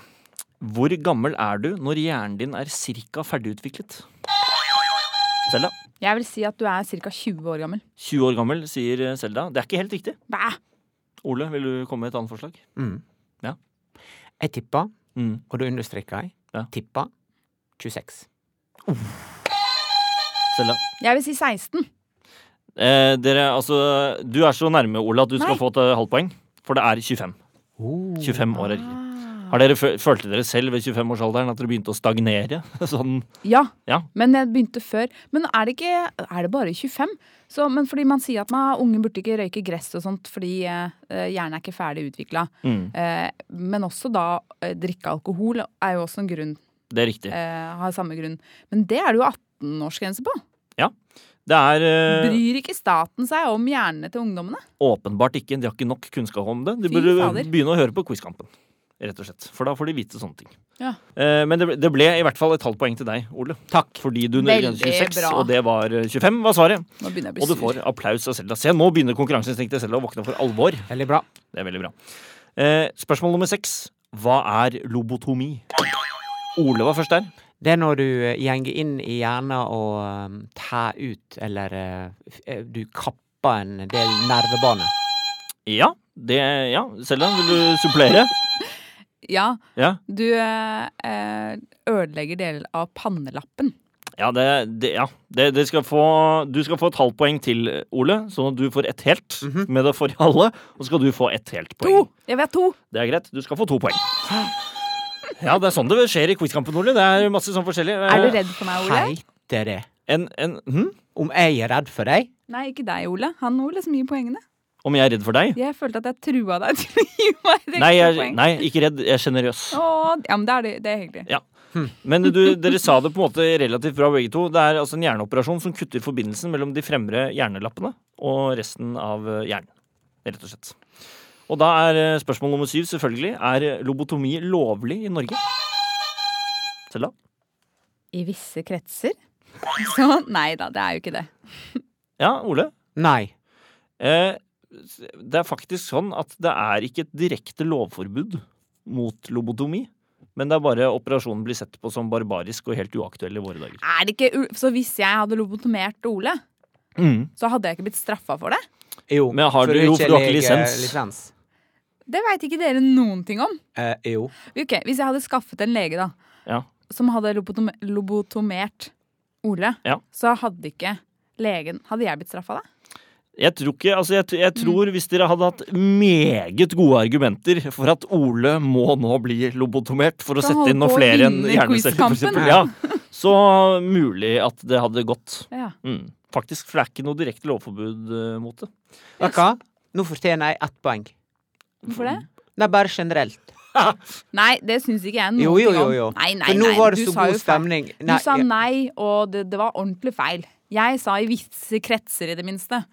Speaker 1: Hvor gammel er du når hjernen din er ca. ferdigutviklet? Selda.
Speaker 2: Jeg vil si at du er ca. 20 år gammel.
Speaker 1: 20 år gammel, sier eh, Selda. Det er ikke helt riktig.
Speaker 2: Bæ!
Speaker 1: Ole, vil du komme med et annet forslag?
Speaker 3: Mm.
Speaker 1: Ja.
Speaker 3: Jeg tippa,
Speaker 1: Mm.
Speaker 3: og da understreker jeg,
Speaker 1: Ja.
Speaker 3: tippa 26.
Speaker 1: Selda.
Speaker 2: Jeg vil si 16.
Speaker 1: Eh, dere, altså, du er så nærme, Ole, at du skal
Speaker 2: Nei.
Speaker 1: få et eh, halvt poeng. For det er 25. 25 år er riktig.
Speaker 2: Ah.
Speaker 1: Har dere, fø- følte dere selv ved 25-årsalderen at dere begynte å stagnere? Sånn,
Speaker 2: Ja,
Speaker 1: Ja.
Speaker 2: men jeg begynte før. Men er det ikke Er det bare 25? Så, men fordi man sier at man, unge burde ikke røyke gress og sånt fordi eh, eh, hjernen er ikke ferdig utvikla.
Speaker 1: Mm.
Speaker 2: Eh, men også da eh, drikke alkohol er jo også en grunn.
Speaker 1: det er riktig.
Speaker 2: Eh, har samme grunn. Men det er det jo 18-årsgrense på.
Speaker 1: Det er eh,
Speaker 2: Bryr ikke staten seg om hjernene til ungdommene?
Speaker 1: Åpenbart ikke. De har ikke nok kunnskap om det. De
Speaker 2: Fy
Speaker 1: burde
Speaker 2: fader.
Speaker 1: begynne å høre på Quizkampen. Rett og slett. For da får de vite sånne ting.
Speaker 2: Ja.
Speaker 1: Eh, men det, ble- det ble i hvert fall et halvt poeng til deg, Ole.
Speaker 3: Takk.
Speaker 1: Fordi du
Speaker 2: Veldig
Speaker 1: nødvendigvis 26,
Speaker 2: bra.
Speaker 1: og det var eh, 25 var svaret.
Speaker 2: Nå begynner jeg å
Speaker 1: Og du
Speaker 2: bli sur.
Speaker 1: får applaus av Selda. Se, nå begynner konkurranseinstinktet selv å våkne for alvor.
Speaker 3: Veldig bra.
Speaker 1: Det er veldig bra. Eh, spørsmål nummer seks. Hva er lobotomi? Ole var først der.
Speaker 3: Det er når du eh, gjenger inn i hjernen og um, tær ut, eller eh, f- eh, du kapper en del nervebaner.
Speaker 1: Ja. Det, ja. Selda, vil du supplere?
Speaker 2: Ja,
Speaker 1: Ja.
Speaker 2: du eh, eh, ødelegger deler av pannelappen.
Speaker 1: Ja, det, det, ja. Det, det skal få, du skal få et halvt poeng til, Ole, sånn at du får ett helt med det forrige halve. Og så skal du få ett helt poeng.
Speaker 2: Mhm. To! Jeg vil ha to!
Speaker 1: Det er greit. Du skal få to poeng. Ja, det er sånn det skjer i quizkampen, Ole. Det er masse sånn forskjellig.
Speaker 2: Er du redd for meg, Ole?
Speaker 3: Heter det
Speaker 1: En, en, hm?
Speaker 3: Om jeg er redd for deg?
Speaker 2: Nei, ikke deg, Ole. Han Ole som gir poengene.
Speaker 1: Om jeg er redd for deg?
Speaker 2: Jeg følte at jeg trua deg til å gi meg riktige
Speaker 1: Nei, jeg,
Speaker 2: poeng.
Speaker 1: nei, ikke redd. Jeg er sjenerøs.
Speaker 2: Å, ja, men det er, det- det er hyggelig.
Speaker 1: Men du, dere sa det på en måte relativt bra, begge to. Det er altså en hjerneoperasjon som kutter forbindelsen mellom de fremre hjernelappene og resten av eh, hjernen. Rett og slett. Og da er eh, spørsmål nummer syv selvfølgelig Er lobotomi lovlig i Norge? Selda?
Speaker 2: I visse kretser. Så nei da, det er jo ikke det.
Speaker 1: Ja, Ole?
Speaker 3: Nei.
Speaker 1: Eh, det er faktisk sånn at det er ikke et direkte lovforbud mot lobotomi. Men det er bare operasjonen blir sett på som barbarisk og helt uaktuell i våre dager.
Speaker 2: Er det ikke, u- så hvis jeg hadde lobotomert Ole, så hadde jeg ikke blitt straffa for det?
Speaker 3: Jo.
Speaker 1: Men har
Speaker 3: for
Speaker 1: du- jo, for du har ikke
Speaker 3: lege-
Speaker 1: lisens.
Speaker 3: lisens.
Speaker 2: Det veit ikke dere noen ting om.
Speaker 3: Eh, jo.
Speaker 2: Ok, Hvis jeg hadde skaffet en lege da,
Speaker 1: Ja.
Speaker 2: som hadde lobotom lobotomert Ole,
Speaker 1: Ja.
Speaker 2: så hadde ikke legen Hadde jeg blitt straffa da?
Speaker 1: Jeg tror ikke, altså jeg, jeg
Speaker 2: Mm.
Speaker 1: tror hvis dere hadde hatt meget gode argumenter for at Ole må nå bli lobotomert for å
Speaker 2: Skal
Speaker 1: sette inn noen
Speaker 2: holde på å
Speaker 1: flere enn
Speaker 2: vinne
Speaker 1: hjerneceller, for
Speaker 2: quizkampen,
Speaker 1: eksempel, ja, så mulig at det hadde gått.
Speaker 2: Ja.
Speaker 1: Mm. Faktisk, for det er ikke noe direkte lovforbud eh, mot det.
Speaker 3: Vet du hva? Nå fortjener jeg ett poeng.
Speaker 2: Hvorfor
Speaker 1: Mm.
Speaker 2: det?
Speaker 3: Nei, bare generelt.
Speaker 2: Nei, det syns ikke jeg noen
Speaker 3: Jo, jo,
Speaker 2: ting om.
Speaker 3: jo, jo.
Speaker 2: Nei, nei,
Speaker 3: For nå
Speaker 2: nei,
Speaker 3: var det
Speaker 2: du
Speaker 3: så
Speaker 2: sa jo
Speaker 3: god
Speaker 2: feil.
Speaker 3: stemning.
Speaker 2: Du sa nei, og det, det var ordentlig feil. Jeg sa i visse kretser, i det minste.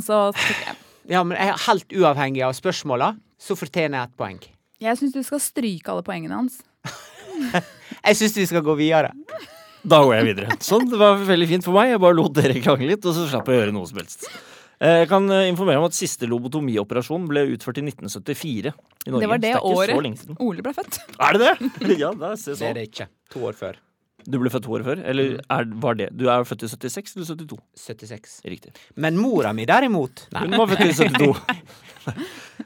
Speaker 2: så tok jeg
Speaker 3: Ja, men jeg er helt uavhengig av spørsmåla, så fortjener jeg ett poeng.
Speaker 2: Jeg syns du skal stryke alle poengene hans.
Speaker 3: Jeg syns vi skal gå videre.
Speaker 1: Da går jeg videre. Sånn, det var veldig fint for meg. Jeg bare lot dere klage litt, og så slapp jeg å gjøre noe som helst. Eh, Jeg kan eh, informere om at siste lobotomioperasjon ble utført i 1974 i Norge.
Speaker 2: Det var det
Speaker 1: så det er ikke så lenge
Speaker 2: året
Speaker 1: siden.
Speaker 2: Ole ble født.
Speaker 1: Er det det? Ja, da, se
Speaker 3: Det
Speaker 1: sånn.
Speaker 3: er det ikke. To år før.
Speaker 1: Du ble født to år før? Eller
Speaker 3: Mm.
Speaker 1: er, var det Du er født i 76 eller 72?
Speaker 3: 76.
Speaker 1: Riktig.
Speaker 3: Men mora mi, derimot Nei,
Speaker 1: Hun var født i 72.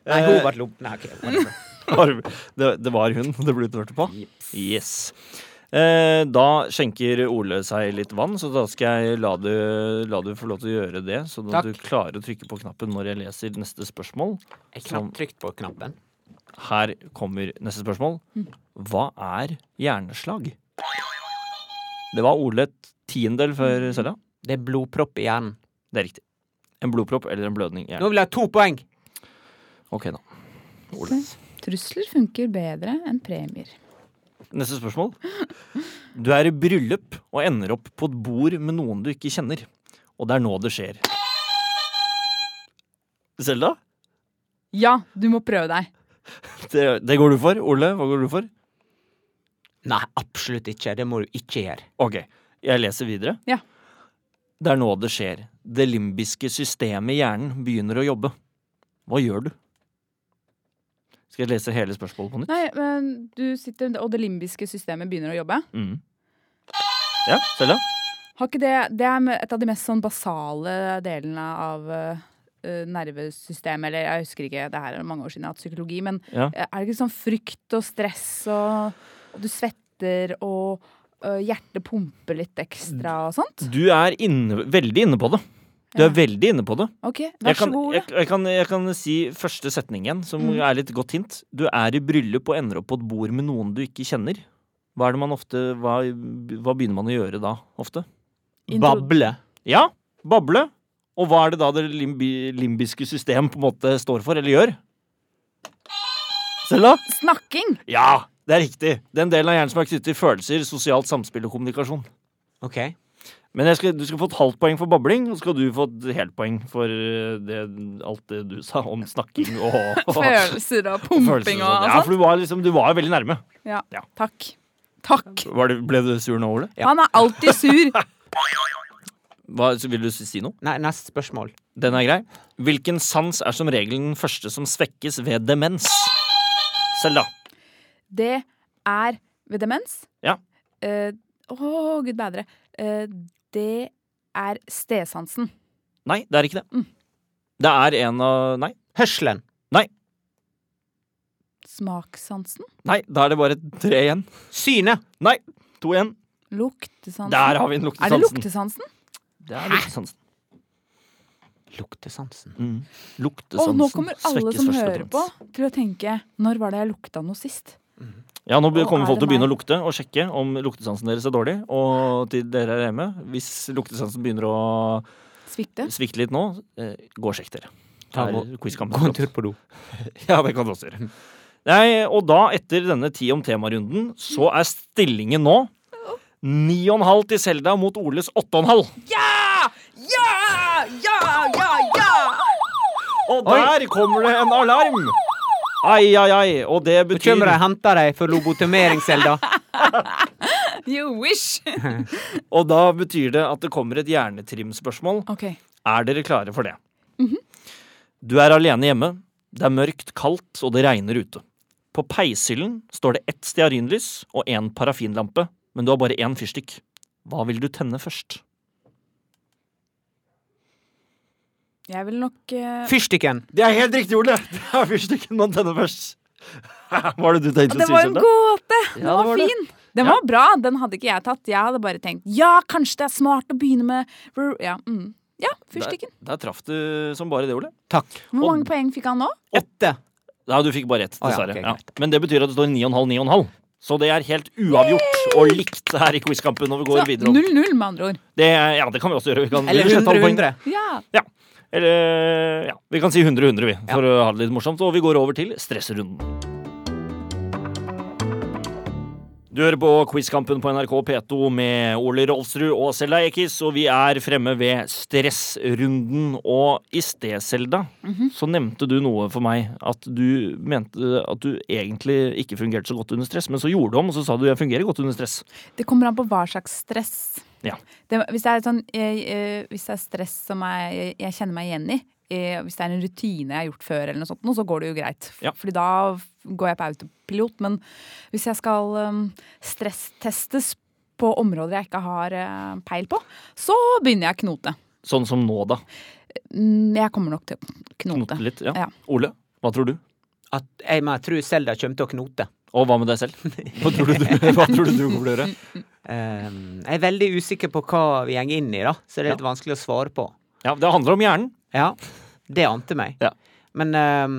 Speaker 3: nei hun var lomp... Nei, ok. var det bra.
Speaker 1: Arv. Det, det var hun det ble utvart på? Yes. Eh, da skjenker Ole seg litt vann, så da skal jeg la du, la du få lov til å gjøre det. Så
Speaker 3: Takk.
Speaker 1: du klarer å trykke på knappen når jeg leser neste spørsmål.
Speaker 3: Jeg knapt trykt på knappen.
Speaker 1: Her kommer neste spørsmål.
Speaker 3: Mm.
Speaker 1: Hva er hjerneslag? Det var Ole et tiendedel
Speaker 3: Mm.
Speaker 1: før Selja.
Speaker 3: Det er blodpropp i hjernen.
Speaker 1: Det er riktig. En blodpropp eller en blødning i hjernen.
Speaker 3: Nå vil jeg ha to poeng!
Speaker 1: Ok, da. Ole.
Speaker 2: Trusler funker bedre enn premier.
Speaker 1: Neste spørsmål. Du er i bryllup og ender opp på et bord med noen du ikke kjenner. Og det er nå det skjer. Selda,
Speaker 2: Ja, du må prøve deg.
Speaker 1: det, det går du for. Ole, hva går du for?
Speaker 3: Nei, absolutt ikke. Det må du ikke gjøre.
Speaker 1: Ok, jeg leser videre.
Speaker 2: Ja.
Speaker 1: Det er nå det skjer. Det limbiske systemet i hjernen begynner å jobbe. Hva gjør du? Skal jeg lese hele spørsmålet på nytt?
Speaker 2: Nei, men du sitter, og det limbiske systemet begynner å jobbe.
Speaker 1: Mm. Ja, Selja?
Speaker 2: Har ikke det, det er et av de mest sånn basale delene av eh, nervesystemet, eller jeg husker ikke, det her er mange år siden jeg har hatt psykologi, men
Speaker 1: Ja.
Speaker 2: eh, er det ikke sånn frykt og stress og, og du svetter og eh, hjertet pumper litt ekstra og sånt?
Speaker 1: Du er inne, veldig inne på det. Du
Speaker 2: Ja.
Speaker 1: er veldig inne på det.
Speaker 2: Ok,
Speaker 1: Jeg
Speaker 2: vær så
Speaker 1: kan,
Speaker 2: god,
Speaker 1: jeg,
Speaker 2: Ole.
Speaker 1: jeg, kan, jeg kan si første setning igjen, som
Speaker 2: Mm.
Speaker 1: er litt godt hint. Du er i bryllup og ender opp på et bord med noen du ikke kjenner. Hva, er det man ofte, hva, hva begynner man å gjøre da, ofte?
Speaker 2: Intro-
Speaker 3: Bable.
Speaker 1: Ja, bable. Og hva er det da det limbi, limbiske system på en måte står for, eller gjør? Selda?
Speaker 2: Snakking!
Speaker 1: Ja, det er riktig. Den delen av hjernen som er knyttet til følelser, sosialt samspill og kommunikasjon.
Speaker 3: Ok.
Speaker 1: Men jeg skal, du skal få et halvt poeng for babling, og så skal du få et helt poeng for eh, det, alt det du sa om snakking og, og
Speaker 2: Følelser og pumping
Speaker 1: følelser
Speaker 2: og,
Speaker 1: sånn. Ja,
Speaker 2: sånt.
Speaker 1: for du var, liksom, du var jo veldig nærme.
Speaker 2: Ja,
Speaker 1: Ja.
Speaker 2: takk. Takk!
Speaker 1: ble du sur nå, Ole?
Speaker 2: Han er alltid sur.
Speaker 1: Hva, så vil du si noe?
Speaker 3: Nei, neste spørsmål.
Speaker 1: Den er grei. Hvilken sans er som regel den første som svekkes ved demens? Selda.
Speaker 2: Det er ved demens.
Speaker 1: Ja.
Speaker 2: Eh, Å, gud bedre. Eh, det er stesansen.
Speaker 1: Nei, det er ikke det.
Speaker 2: Mm.
Speaker 1: Det er en av Nei.
Speaker 3: Hørselen.
Speaker 2: Smakssansen.
Speaker 1: Nei, da er det bare tre igjen.
Speaker 3: Synet.
Speaker 1: Nei, to igjen.
Speaker 2: Luktesansen.
Speaker 1: Der har vi den
Speaker 2: er det
Speaker 1: luktesansen.
Speaker 2: luktesansen?
Speaker 1: Det er luktesansen.
Speaker 3: Luktesansen.
Speaker 1: Mm.
Speaker 2: Og
Speaker 1: Luktesansen
Speaker 2: nå kommer alle
Speaker 1: svekkes
Speaker 2: som
Speaker 1: først ved
Speaker 2: hører
Speaker 1: demens.
Speaker 2: på, til å tenke Når var det jeg lukta noe sist?
Speaker 1: Ja, nå be-
Speaker 2: Å,
Speaker 1: kommer
Speaker 2: er
Speaker 1: folk til
Speaker 2: det
Speaker 1: å begynne å
Speaker 2: meg?
Speaker 1: lukte og sjekke om luktesansen deres er dårlig. Og til dere her hjemme, hvis luktesansen begynner å
Speaker 2: Svikte?
Speaker 1: svikte litt nå, eh, gå og sjekk dere.
Speaker 3: Ta
Speaker 1: Her
Speaker 3: gå-
Speaker 1: er quizkampen
Speaker 3: Gå en
Speaker 1: flott.
Speaker 3: tur på do.
Speaker 1: Ja, det kan du også gjøre. Nei, og da, etter denne ti om temarunden, så er stillingen nå ni og en halv til Selda mot Oles åtte og en halv.
Speaker 2: Ja! Ja! Ja! Ja!
Speaker 1: Og der kommer det en alarm! Ai, ai, ai. Og det
Speaker 3: Nå kommer
Speaker 1: betyr
Speaker 3: de og henter deg for lobotomering, Selda.
Speaker 2: You wish!
Speaker 1: Og da betyr det at det kommer et hjernetrimspørsmål.
Speaker 2: OK.
Speaker 1: Er dere klare for det?
Speaker 2: Mhm.
Speaker 1: Du er alene hjemme. Det er mørkt, kaldt, og det regner ute. På peishyllen står det ett stearinlys og én parafinlampe, men du har bare én fyrstikk. Hva vil du tenne først?
Speaker 2: Jeg vil nok eh,
Speaker 3: Fyrstikken.
Speaker 1: Det er helt riktig, Ole! Det er fyrstikken man tenner først. Hva var det du tenkte
Speaker 2: Det var en gåte!
Speaker 1: Ja,
Speaker 2: Den
Speaker 1: det
Speaker 2: var
Speaker 1: var det.
Speaker 2: fin! Den var bra. Den hadde ikke jeg tatt. Jeg hadde bare tenkt ja, kanskje det er smart å begynne med Ja, mm. ja fyrstikken.
Speaker 1: Der, der traff du som bare det, Ole.
Speaker 3: Takk.
Speaker 2: Hvor
Speaker 1: og-
Speaker 2: mange poeng fikk han nå?
Speaker 3: Åtte.
Speaker 1: Nei, du fikk bare ett,
Speaker 3: Å ja,
Speaker 1: dessverre.
Speaker 3: ok,
Speaker 1: ja,
Speaker 3: greit.
Speaker 1: Men det betyr at det står 9,5, 9,5. Så det er helt uavgjort og likt her i quizkampen. Og vi går
Speaker 2: Så
Speaker 1: videre om
Speaker 2: 0-0, med andre ord.
Speaker 1: Det, ja, det kan vi også gjøre. Vi kan,
Speaker 3: Eller
Speaker 1: vi kan ta
Speaker 3: 100,
Speaker 1: poeng.
Speaker 3: 100.
Speaker 2: Ja.
Speaker 1: Eller ja, vi kan si 100-100, vi, for å ha det litt morsomt. Og vi går over til stressrunden. Du hører på Quizkampen på NRK P2 med Ole Rolfsrud og Selda Ekiz, og vi er fremme ved stressrunden. Og i sted, Selda, så nevnte du noe for meg at du mente at du egentlig ikke fungerte så godt under stress, men så gjorde du om, og så sa du jeg fungerer godt under stress.
Speaker 2: Det kommer an på hva slags stress.
Speaker 1: Ja.
Speaker 2: Det, hvis, det er et sånn, eh, eh, hvis det er stress som jeg, jeg kjenner meg igjen i, eh, hvis det er en rutine jeg har gjort før, eller noe sånt, nå, så går det jo greit.
Speaker 1: Ja.
Speaker 2: Fordi da f- går jeg på autopilot. Men hvis jeg skal eh, stresstestes på områder jeg ikke har eh, peil på, så begynner jeg å knote.
Speaker 1: Sånn som nå, da.
Speaker 2: Mm, Jeg kommer nok til å knote.
Speaker 1: Knote litt. Ja.
Speaker 2: Ja.
Speaker 1: Ole, hva tror du?
Speaker 3: At jeg må tro Selda kommer til å knote.
Speaker 1: Og hva med deg selv? Hva tror du du, hva tror du, du kommer til å gjøre?
Speaker 3: Ehm, jeg er veldig usikker på hva vi går inn i, da, så det er litt vanskelig å svare på.
Speaker 1: Ja, Det handler om hjernen.
Speaker 3: Ja, det ante meg.
Speaker 1: Ja.
Speaker 3: Men ehm,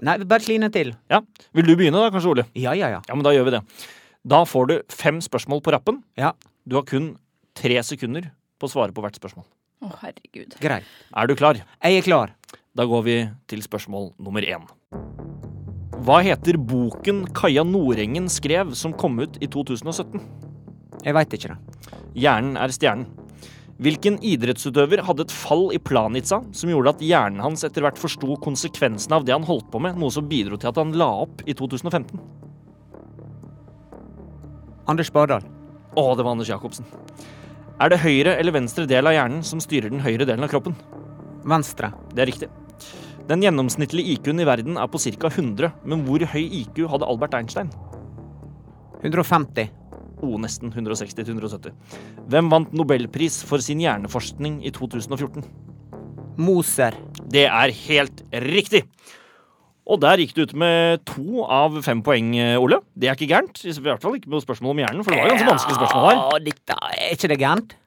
Speaker 3: Nei, vi bare kline til.
Speaker 1: Ja. Vil du begynne da, kanskje, Ole?
Speaker 3: Ja, ja, ja.
Speaker 1: Ja, men Da gjør vi det. Da får du fem spørsmål på rappen.
Speaker 3: Ja,
Speaker 1: Du har kun tre sekunder på å svare på hvert spørsmål.
Speaker 2: Å, herregud.
Speaker 3: Greit.
Speaker 1: Er du klar?
Speaker 3: Jeg er klar.
Speaker 1: Da går vi til spørsmål nummer én. Hva heter boken Kaja Nordengen skrev som kom ut i 2017?
Speaker 3: Jeg veit ikke det.
Speaker 1: Hjernen er stjernen. Hvilken idrettsutøver hadde et fall i Planica som gjorde at hjernen hans etter hvert forsto konsekvensene av det han holdt på med, noe som bidro til at han la opp i 2015?
Speaker 3: Anders Bardal.
Speaker 1: Å, det var Anders Jacobsen. Er det høyre eller venstre del av hjernen som styrer den høyre delen av kroppen?
Speaker 3: Venstre.
Speaker 1: Det er riktig. Den gjennomsnittlige IQ-en i verden er på ca. 100, men hvor høy IQ hadde Albert Einstein?
Speaker 3: 150.
Speaker 1: O, nesten 160-170. Hvem vant nobelpris for sin hjerneforskning i 2014?
Speaker 3: Moser.
Speaker 1: Det er helt riktig. Og der gikk du ut med to av fem poeng, eh, Ole. Det er ikke gærent. I hvert fall ikke på spørsmål om hjernen, for det var ganske vanskelige spørsmål her.
Speaker 3: Ja, dette er ikke det gærent?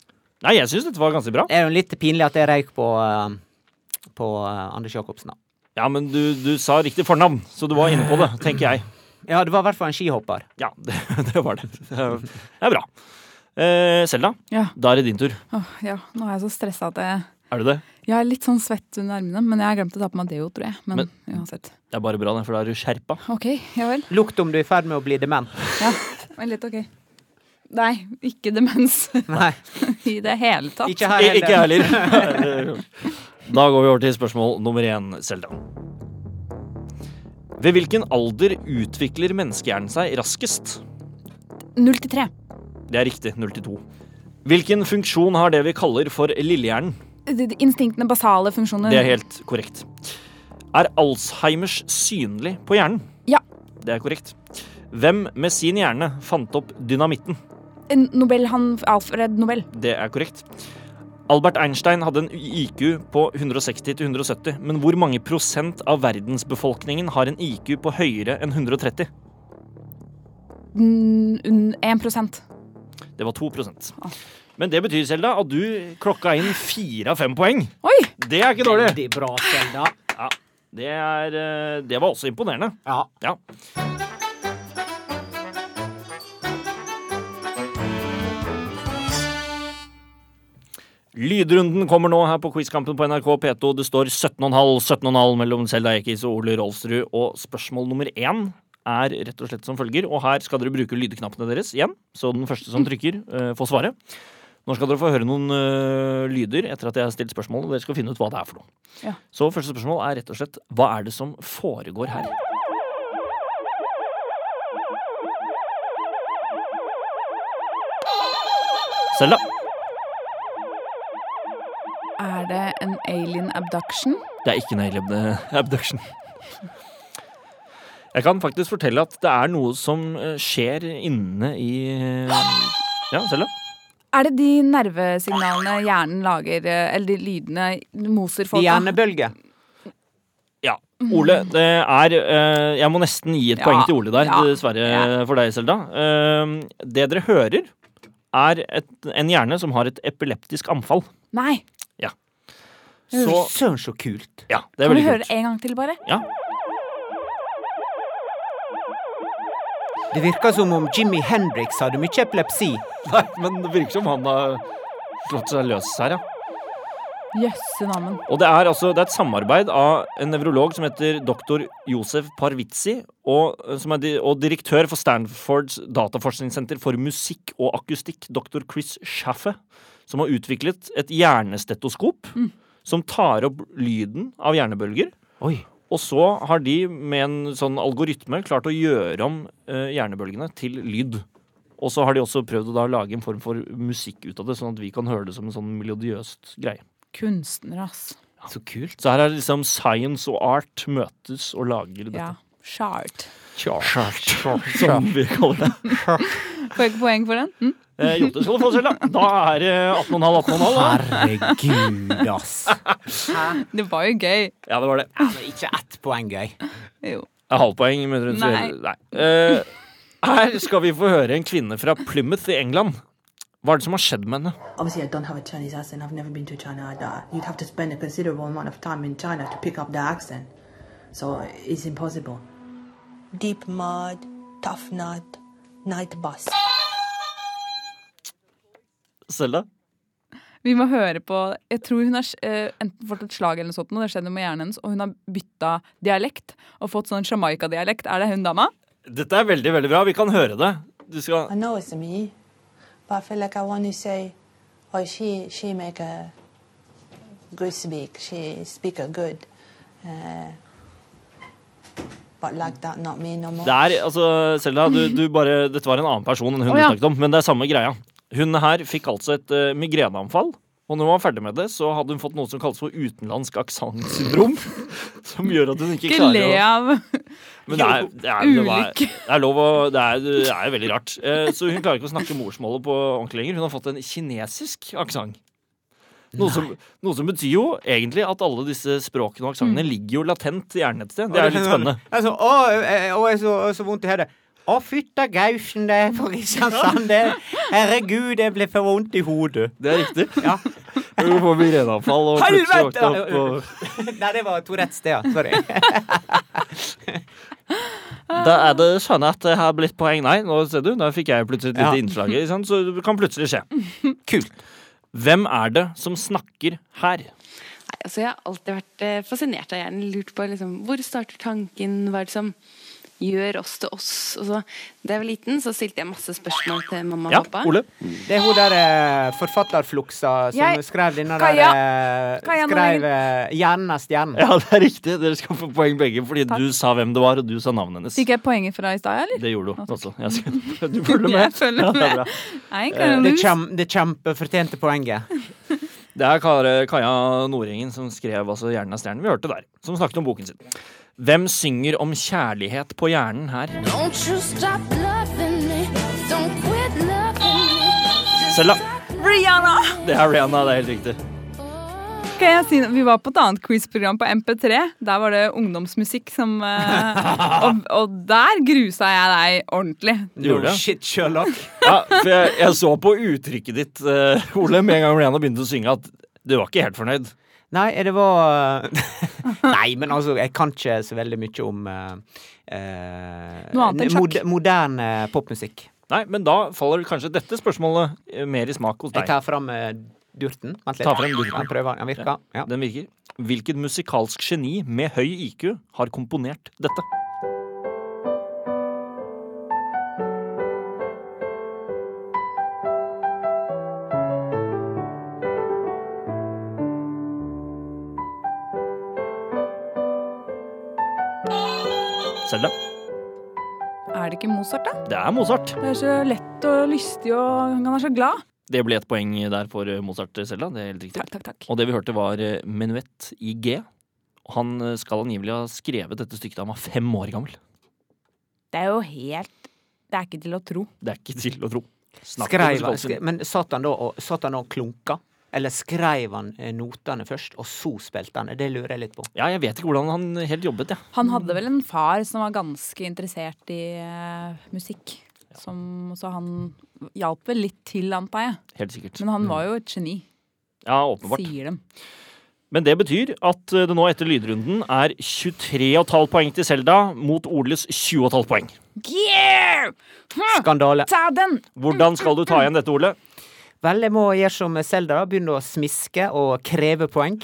Speaker 1: Nei, jeg syns dette var ganske bra.
Speaker 3: Det er jo litt pinlig at jeg røyk på, eh, på eh, Anders Jacobsen, da.
Speaker 1: Ja, men du, du sa riktig fornavn, så du var inne på det, tenker jeg.
Speaker 3: Ja, det var i hvert fall en skihopper.
Speaker 1: Ja, det, det var det. Det er det er bra. Eh, Selda,
Speaker 2: Ja.
Speaker 1: da er det din tur.
Speaker 2: Åh, ja. Nå er jeg så stressa at jeg
Speaker 1: Er det det?
Speaker 2: Jeg er litt sånn svett under armene, men jeg har glemt å ta på meg deo, tror jeg. Men, uansett.
Speaker 1: Det er bare bra, det, for da er du skjerpa.
Speaker 2: Ok, ja vel.
Speaker 3: Lukt om du er i ferd med å bli dement.
Speaker 2: Ja, men litt ok. Nei, ikke demens
Speaker 3: Nei,
Speaker 2: i det hele tatt.
Speaker 3: ikke her
Speaker 1: Ik- Ikke jeg
Speaker 3: heller.
Speaker 1: heller. da går vi over til spørsmål nummer én, Selda. Ved hvilken alder utvikler menneskehjernen seg raskest?
Speaker 2: 0 til 3.
Speaker 1: Det er riktig. 0-2. Hvilken funksjon har det vi kaller for lillehjernen?
Speaker 2: De- de Instinktene, basale funksjoner.
Speaker 1: Det er helt korrekt. Er Alzheimers synlig på hjernen?
Speaker 2: Ja.
Speaker 1: Det er korrekt. Hvem med sin hjerne fant opp dynamitten?
Speaker 2: En Nobel, han, Alfred Nobel.
Speaker 1: Det er korrekt. Albert Einstein hadde en IQ på 160-170, men hvor mange prosent av verdensbefolkningen har en IQ på høyere enn 130?
Speaker 2: Mm, un- 1
Speaker 1: Det var 2 Men det betyr, Selda, at du klokka inn fire av fem poeng.
Speaker 2: Oi!
Speaker 1: Det er ikke dårlig.
Speaker 3: Veldig bra, Selda.
Speaker 1: Ja, det, er, eh, det var også imponerende.
Speaker 3: Ja.
Speaker 1: Ja. Lydrunden kommer nå her på Quizkampen på NRK P2. Det står 17,5 17,5 mellom Selda Ekiz og Ole Rolfsrud. Og spørsmål nummer én er rett og slett som følger, og her skal dere bruke lydknappene deres igjen. Så den første som trykker, eh, får svaret. Nå skal dere få høre noen eh, lyder etter at jeg har stilt spørsmål, og dere skal finne ut hva det er for noe.
Speaker 2: Ja.
Speaker 1: Så første spørsmål er rett og slett hva er det som foregår her? Selda.
Speaker 2: Er det en alien abduction?
Speaker 1: Det er ikke en alien eh, abduction. Jeg kan faktisk fortelle at det er noe som eh, skjer inne i eh, Ja, Selda?
Speaker 2: Er det de nervesignalene hjernen lager, eh, eller de lydene moser folk? av?
Speaker 3: Hjernebølge.
Speaker 1: Ja. Ole, det er eh, Jeg må nesten gi et
Speaker 2: Mm. Ja,
Speaker 1: poeng til Ole der,
Speaker 2: ja,
Speaker 1: dessverre
Speaker 2: ja.
Speaker 1: for deg, Selda. Eh, det dere hører, er et, en hjerne som har et epileptisk anfall.
Speaker 2: Nei.
Speaker 1: Så
Speaker 3: Søren, så kult.
Speaker 1: Ja, det er
Speaker 2: Kan vi
Speaker 1: veldig
Speaker 2: høre
Speaker 1: kult.
Speaker 2: det en gang til, bare?
Speaker 1: Ja.
Speaker 3: Det virker som om Jimmy Hendrix hadde mye epilepsi.
Speaker 1: Nei, men det virker som han har slått seg løs her, ja.
Speaker 2: Jøsse namn.
Speaker 1: Og det er, altså, det er et samarbeid av en nevrolog som heter doktor Josef Parvitsi, og, eh, som er di og direktør for Stanfords dataforskningssenter for musikk og akustikk, doktor Chris Schaffe, som har utviklet et hjernestetoskop som tar opp lyden av hjernebølger.
Speaker 3: Oi.
Speaker 1: Og så har de med en sånn algoritme klart å gjøre om eh, hjernebølgene til lyd. Og så har de også prøvd å da lage en form for musikk ut av det, sånn at vi kan høre det som en sånn melodiøst greie.
Speaker 2: Kunstner, ass.
Speaker 3: Så kult.
Speaker 1: Så her er det liksom science og art møtes og lager dette.
Speaker 2: Ja. Shard.
Speaker 1: Som vi kaller det.
Speaker 2: Får jeg ikke poeng for den? Mm?
Speaker 1: Eh, jo, det skal du få selv, da. Da er det 18,5, 18,5. da.
Speaker 3: Herregud, ass.
Speaker 2: Mm, Det var jo gøy.
Speaker 1: Ja, det var det.
Speaker 3: Altså, ikke ett poeng, gøy.
Speaker 2: Jo.
Speaker 1: Eh, Halvpoeng. Men rundt,
Speaker 2: Nei.
Speaker 1: Nei. Eh, her skal vi få høre en kvinne fra Plymouth i England. Hva er det som har skjedd med henne?
Speaker 4: Obviously, I don't have a Chinese accent. I've never been to China. I'd, uh, You'd have to spend a considerable amount of time in China to pick up the accent. So it's impossible.
Speaker 5: deep mud, tough nut, night bus.
Speaker 1: Selda?
Speaker 2: Vi må høre på Jeg tror hun har eh, enten fått et slag eller noe sånt, noe, det skjedde med hjernen hennes, og hun har bytta dialekt og fått sånn Jamaica-dialekt. Er det hun dama?
Speaker 1: Dette er veldig, veldig bra. Vi kan høre det. Du skal
Speaker 5: I know it's me, but I feel like I want to say, oh, she she make a good speak. She speak a good. Uh, but like that, not me no more.
Speaker 1: Det er, altså, Selda, du, du bare Dette var en annen person enn hun
Speaker 2: Å, ja.
Speaker 1: du snakket om, men det er samme greia. Hun her fikk altså et eh, migreneanfall. Og når hun var ferdig med det, så hadde hun fått noe som kalles for utenlandsk aksentsyndrom. Som gjør at hun ikke
Speaker 2: Ikke le
Speaker 1: klarer å
Speaker 2: av
Speaker 1: Men det er, det er, det er,
Speaker 2: Ulykke.
Speaker 1: det er lov å Det er, det er veldig rart. Eh, Så hun klarer ikke å snakke morsmålet på ordentlig lenger. Hun har fått en kinesisk aksent. Noe som, noe som betyr jo egentlig at alle disse språkene og
Speaker 2: Mm.
Speaker 1: aksentene ligger jo latent i hjernen et sted. Det er litt spennende.
Speaker 3: Jeg er så, å, jeg, å, jeg er så, så vondt i hodet. Å, fytta gausen, det er for Kristiansand. det- Herregud, det ble for vondt i hodet.
Speaker 1: Det er riktig. Ja. Hun får migreneanfall og plutselig
Speaker 3: Helvete!
Speaker 1: våkner opp og
Speaker 3: Nei, det var Tourettes, det, ja. Sorry.
Speaker 1: Da er det sånn at det har blitt poeng. Nei, nå ser du, da fikk jeg plutselig et lite
Speaker 3: Ja.
Speaker 1: innslag. ikke sant? Så det kan plutselig skje. Kult. Hvem er det som snakker her?
Speaker 6: Nei, altså jeg har alltid vært eh, fascinert av hjernen. Lurt på liksom, hvor starter tanken, hva er det som gjør oss til oss? Og så, da jeg var liten, så stilte jeg masse spørsmål til mamma og
Speaker 1: Ja,
Speaker 6: pappa.
Speaker 1: Ole?
Speaker 3: Det er hun der eh, forfatterfluksa som
Speaker 2: Jeg-
Speaker 3: skrev denne der
Speaker 2: Kaja.
Speaker 3: eh,
Speaker 2: Kaja
Speaker 3: Skrev eh, 'Hjernen er stjernen'.
Speaker 1: Ja, det er riktig. Dere skal få poeng begge, fordi du sa hvem det var, og du sa navnet hennes.
Speaker 2: Fikk jeg poenget fra i stad, eller?
Speaker 1: Det gjorde hun også. Jeg skal, du følger med.
Speaker 2: Jeg følger
Speaker 1: Ja, det er
Speaker 2: med.
Speaker 1: bra.
Speaker 2: Nei, kan
Speaker 3: Eh, Det,
Speaker 2: jeg lose?
Speaker 3: kjem, det kjempefortjente poenget.
Speaker 1: Det er Kare- Kaja Nordengen som skrev altså 'Hjernen er stjernen'. Vi hørte der. Som snakket om boken sin. Hvem synger om kjærlighet på hjernen her?
Speaker 7: Don't you stop loving me. Don't quit loving me. Just
Speaker 1: Sella.
Speaker 7: stop
Speaker 2: Rihanna!
Speaker 1: Det er Rihanna, det er helt riktig.
Speaker 7: loving
Speaker 2: Kan jeg si, vi var på et annet quizprogram på MP3. Der var det ungdomsmusikk som eh, og, og der grusa jeg deg ordentlig.
Speaker 1: Du gjorde det.
Speaker 3: Shit, Sherlock.
Speaker 1: Ja, for jeg, jeg så på uttrykket ditt, eh, Ole, med en gang Rihanna begynte å synge, at du var ikke helt fornøyd.
Speaker 3: Nei, det var Nei, men altså, jeg kan ikke så veldig mye om eh, eh,
Speaker 2: Noe annet enn
Speaker 3: mod-
Speaker 2: sjakk.
Speaker 3: moderne popmusikk.
Speaker 1: Nei, men da faller kanskje dette spørsmålet eh, mer i smak hos
Speaker 3: Jeg
Speaker 1: deg.
Speaker 3: tar fram eh, durten. Vent litt.
Speaker 1: Ta frem durten.
Speaker 3: Jeg prøver, den virker. Ja.
Speaker 1: Den virker. Hvilket musikalsk geni med høy IQ har komponert dette? Selda,
Speaker 2: Er det ikke Mozart, da?
Speaker 1: det er Mozart.
Speaker 2: Det er så lett og lystig, og han er så glad.
Speaker 1: Det ble et poeng der for eh, Mozart Selda. Det er helt riktig.
Speaker 2: Takk, takk, takk.
Speaker 1: Og det vi hørte, var eh, menuett i G. Og Han eh, skal angivelig ha skrevet dette stykket da han var fem år gammel.
Speaker 2: Det er jo helt Det er ikke til å tro.
Speaker 1: Det er ikke til å tro. Snakk om
Speaker 3: Skrev han,
Speaker 1: musikalsk
Speaker 3: skre,
Speaker 1: geni.
Speaker 3: men satt han da og, satt han da og klunka? Eller skrev han eh, notene først, og så spilte han? Det lurer jeg litt på.
Speaker 1: Ja, jeg vet ikke hvordan han helt jobbet, jeg.
Speaker 2: Han hadde vel en far som var ganske interessert i eh, musikk. Som, så han hjalp vel litt til, antar jeg.
Speaker 1: Helt sikkert.
Speaker 2: Men han var jo et geni,
Speaker 1: Ja, åpenbart.
Speaker 2: sier dem.
Speaker 1: Men det betyr at eh, det nå etter lydrunden er 23,5 poeng til Selda mot Oles 20,5 poeng.
Speaker 2: Yeah! Hm,
Speaker 3: Skandale.
Speaker 2: Ta den!
Speaker 1: Hvordan skal du ta igjen dette, Ole?
Speaker 3: Vel, jeg må gjøre som Selda, da. Begynne å smiske og kreve poeng.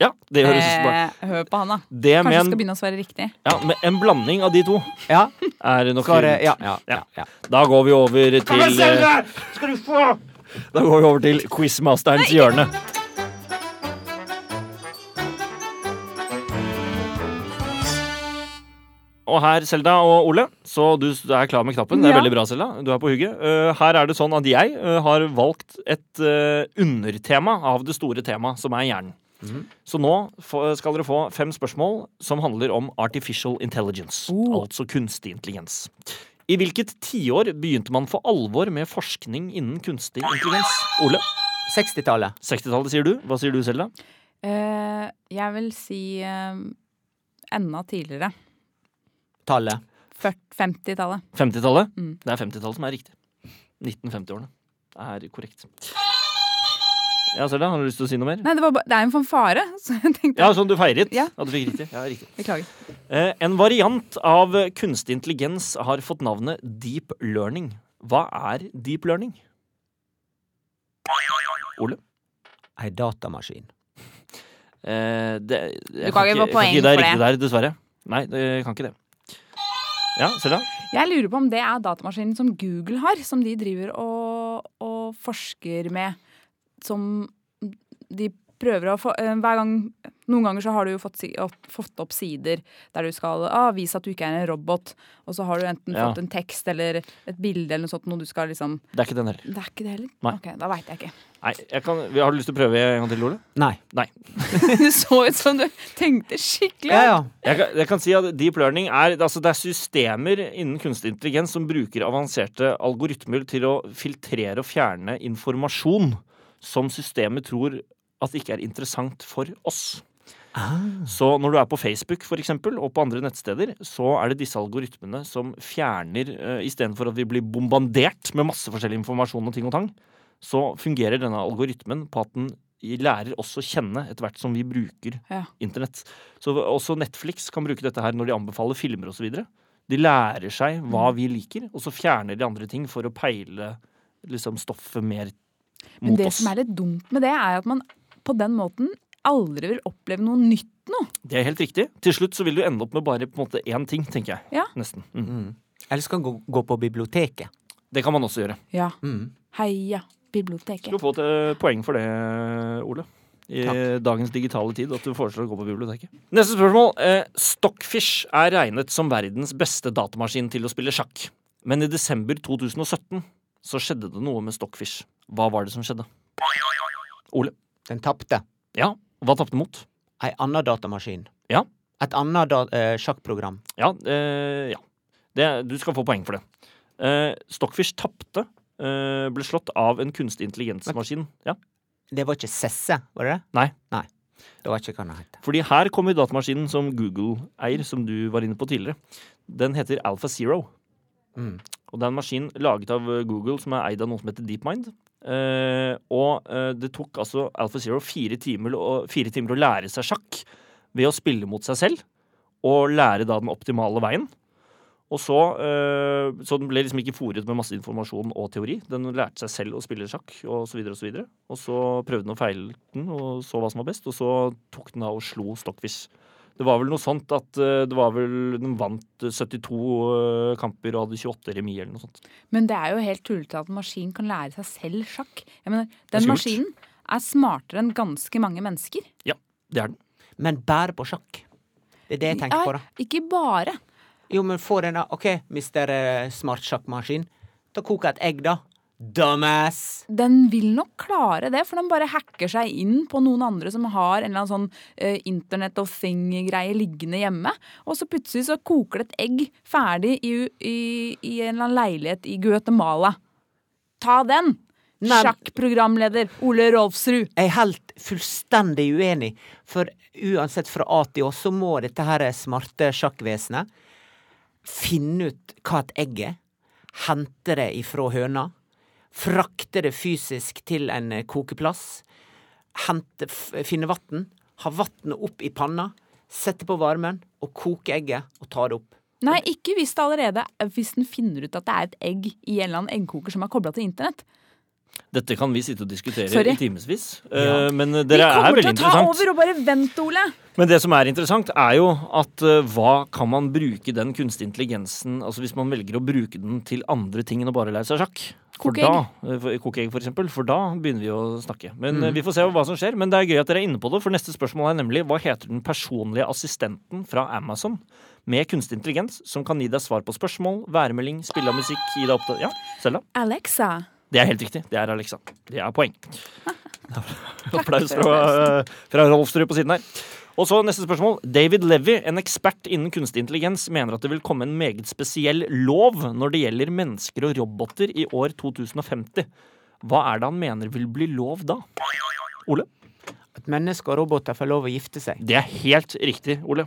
Speaker 1: Ja, det høres ut som bare
Speaker 2: Eh, hør på han, da.
Speaker 1: Det med
Speaker 2: Kanskje det skal
Speaker 1: en,
Speaker 2: begynne å svare riktig.
Speaker 1: ja, med en blanding av de to
Speaker 3: Ja.
Speaker 1: er nok
Speaker 3: Svaret
Speaker 1: lurt.
Speaker 3: ja, ja, ja,
Speaker 1: Ja.
Speaker 3: ja.
Speaker 1: Da går vi over til eh, Da går vi over til quizmasterens hjørne. Og her, Selda og Ole, så du er klar med knappen. Det er
Speaker 2: Ja.
Speaker 1: veldig bra, Selda. Du er på hugget. Eh, her er det sånn at jeg eh, har valgt et eh, undertema av det store temaet, som er hjernen. Så nå få- skal dere få fem spørsmål som handler om artificial intelligence,
Speaker 2: Oh.
Speaker 1: altså kunstig intelligens. I hvilket tiår begynte man for alvor med forskning innen kunstig intelligens? Ole,
Speaker 3: 60-tallet.
Speaker 1: 60-tallet sier du. Hva sier du selv, da?
Speaker 2: Eh, jeg vil si eh, enda tidligere.
Speaker 3: Tallet.
Speaker 2: 40 50-tallet.
Speaker 1: 50-tallet?
Speaker 2: Mm.
Speaker 1: Det er 50-tallet som er riktig. 1950-årene er korrekt. Ja, Selda, har du lyst til å si noe mer?
Speaker 2: Nei, det, var ba det er en fanfare, så jeg tenkte
Speaker 1: Ja, sånn du feiret
Speaker 2: Ja.
Speaker 1: at du fikk riktig. Ja, riktig.
Speaker 2: Beklager.
Speaker 1: Eh, en variant av kunstig intelligens har fått navnet deep learning. Hva er deep learning? Ole?
Speaker 3: Ei datamaskin.
Speaker 1: Eh, det, jeg
Speaker 2: Du kan ikke få
Speaker 1: jeg kan
Speaker 2: poeng
Speaker 1: gi deg
Speaker 2: for
Speaker 1: riktig Der, dessverre. Nei, jeg kan ikke det. Ja, Selda?
Speaker 2: Jeg lurer på om det er datamaskinen som Google har, som de driver og, og forsker med. Som de prøver å få eh, Hver gang Noen ganger så har du jo fått, si opp, fått opp sider der du skal ah, vise at du ikke er en robot, og så har du enten
Speaker 1: Ja.
Speaker 2: fått en tekst eller et bilde eller noe sånt, noe du skal liksom
Speaker 1: Det er ikke den her.
Speaker 2: Det er ikke det heller?
Speaker 1: Nei.
Speaker 2: Ok, da veit jeg ikke.
Speaker 1: Nei, jeg kan, har du lyst til å prøve en gang til, Ole?
Speaker 3: Nei.
Speaker 1: Nei.
Speaker 2: Det så ut som du tenkte skikkelig.
Speaker 3: Ja, ja.
Speaker 1: Jeg kan, jeg kan si at deep learning er, altså det er systemer innen kunstig intelligens som bruker avanserte algoritmer til å filtrere og fjerne informasjon som systemet tror at ikke er interessant for oss. Så når du er på Facebook for eksempel, og på andre nettsteder, så er det disse algoritmene som fjerner eh, Istedenfor at vi blir bombardert med masse forskjellig informasjon og ting og tang, så fungerer denne algoritmen på at den lærer oss å kjenne etter hvert som vi bruker
Speaker 2: Ja.
Speaker 1: internett. Så også Netflix kan bruke dette her når de anbefaler filmer osv. De lærer seg hva
Speaker 2: Mm.
Speaker 1: vi liker, og så fjerner de andre ting for å peile liksom, stoffet mer
Speaker 2: Men
Speaker 1: mot
Speaker 2: det
Speaker 1: oss.
Speaker 2: som er litt dumt med det, er at man på den måten aldri vil oppleve noe nytt nå.
Speaker 1: Det er helt riktig. Til slutt så vil du ende opp med bare på en måte én ting, tenker jeg.
Speaker 2: Ja.
Speaker 1: Nesten. Mm.
Speaker 3: Eller skal han gå, gå på biblioteket.
Speaker 1: Det kan man også gjøre.
Speaker 2: Ja.
Speaker 3: Mm.
Speaker 2: Heia biblioteket.
Speaker 1: Du får et eh, poeng for det, Ole. I dagens digitale tid at du foreslår å gå på biblioteket. Neste spørsmål. Eh, Stockfish er regnet som verdens beste datamaskin til å spille sjakk. Men i desember 2017 så skjedde det noe med Stockfish. Hva var det som skjedde? Ole.
Speaker 3: Den tapte.
Speaker 1: Ja, hva tapte mot?
Speaker 3: Ei anna datamaskin.
Speaker 1: Ja.
Speaker 3: Et anna da, eh, sjakkprogram.
Speaker 1: Ja, eh, ja. Det, du skal få poeng for det. Eh, Stockfish tapte. Eh, ble slått av en kunstig intelligensmaskin. Ja.
Speaker 3: Det var ikke Sesse, var det det?
Speaker 1: Nei.
Speaker 3: Nei. Det var ikke hva den het.
Speaker 1: Fordi her kommer datamaskinen som Google eier, som du var inne på tidligere. Den heter AlphaZero.
Speaker 3: Mm.
Speaker 1: Og det er en maskin laget av eh, Google som er eid av noe som heter DeepMind. Eh, og eh, det tok altså AlphaZero fire timer, å- fire timer å lære seg sjakk ved å spille mot seg selv og lære da den optimale veien. Og så, eh, så den ble liksom ikke fòret med masse informasjon og teori. Den lærte seg selv å spille sjakk og så videre og så videre. Og så prøvde den og feilet den og så hva som var best, og så tok den av og slo Stockfish. Det var vel noe sånt at eh, det var vel, den vant eh, 72 eh, kamper og hadde 28 remis eller noe sånt.
Speaker 2: Men det er jo helt tullete at en maskin kan lære seg selv sjakk. Jeg mener, den
Speaker 1: skummelt.
Speaker 2: maskinen er smartere enn ganske mange mennesker.
Speaker 1: Ja, det er den.
Speaker 3: Men bare på sjakk. Det er det jeg tenker på, da.
Speaker 2: Ja, ikke bare.
Speaker 3: Jo, men få den, da. OK, mister eh, smart sjakkmaskin. Da kok et egg, da. Dumbass!
Speaker 2: Den vil nok klare det, for den bare hacker seg inn på noen andre som har en eller annen sånn eh, Internet of thing-greie liggende hjemme. Og så plutselig så koker det et egg ferdig i, i, i en eller annen leilighet i Guatemala. Ta den!
Speaker 3: Nei.
Speaker 2: Sjakkprogramleder Ole Rolfsrud.
Speaker 3: Jeg er helt fullstendig uenig, for uansett fra A til Å, så må dette her smarte sjakkvesenet finne ut hva et egg er, hente det ifra høna, frakte det fysisk til en eh, kokeplass, hente, f- finne vann, ha vannet opp i panna, sette på varmen og koke egget og ta det opp.
Speaker 2: Nei, ikke hvis det allerede Hvis den finner ut at det er et egg i en eller annen eggkoker som er kobla til internett.
Speaker 1: Dette kan vi sitte og diskutere
Speaker 2: Sorry.
Speaker 1: i timevis, eh, men
Speaker 2: Vi
Speaker 1: dere er
Speaker 2: kommer
Speaker 1: veldig
Speaker 2: til å ta
Speaker 1: interessant.
Speaker 2: over og bare vent, Ole!
Speaker 1: Men det som er interessant, er jo at eh, hva kan man bruke den kunstige intelligensen Altså hvis man velger å bruke den til andre ting enn å bare lære seg sjakk. For
Speaker 2: Koke egg.
Speaker 1: da- eh, for- Koke egg, for eksempel. For da begynner vi å snakke. Men eh, vi får se hva som skjer. Men det er gøy at dere er inne på det, for neste spørsmål er nemlig hva heter den personlige assistenten fra Amazon med kunstig intelligens som kan gi deg svar på spørsmål, væremelding, spille av musikk, gi deg opptak Ja, Selda?
Speaker 2: Alexa.
Speaker 1: Det er helt riktig. Det er Alexa. Det er poeng. Applaus fra, eh, fra Rolfsrud på siden her. Og så neste spørsmål. David Levy, en ekspert innen kunstig intelligens, mener at det vil komme en meget spesiell lov når det gjelder mennesker og roboter i år 2050. Hva er det han mener vil bli lov da? Ole?
Speaker 3: At mennesker og roboter får lov å gifte seg.
Speaker 1: Det er helt riktig, Ole.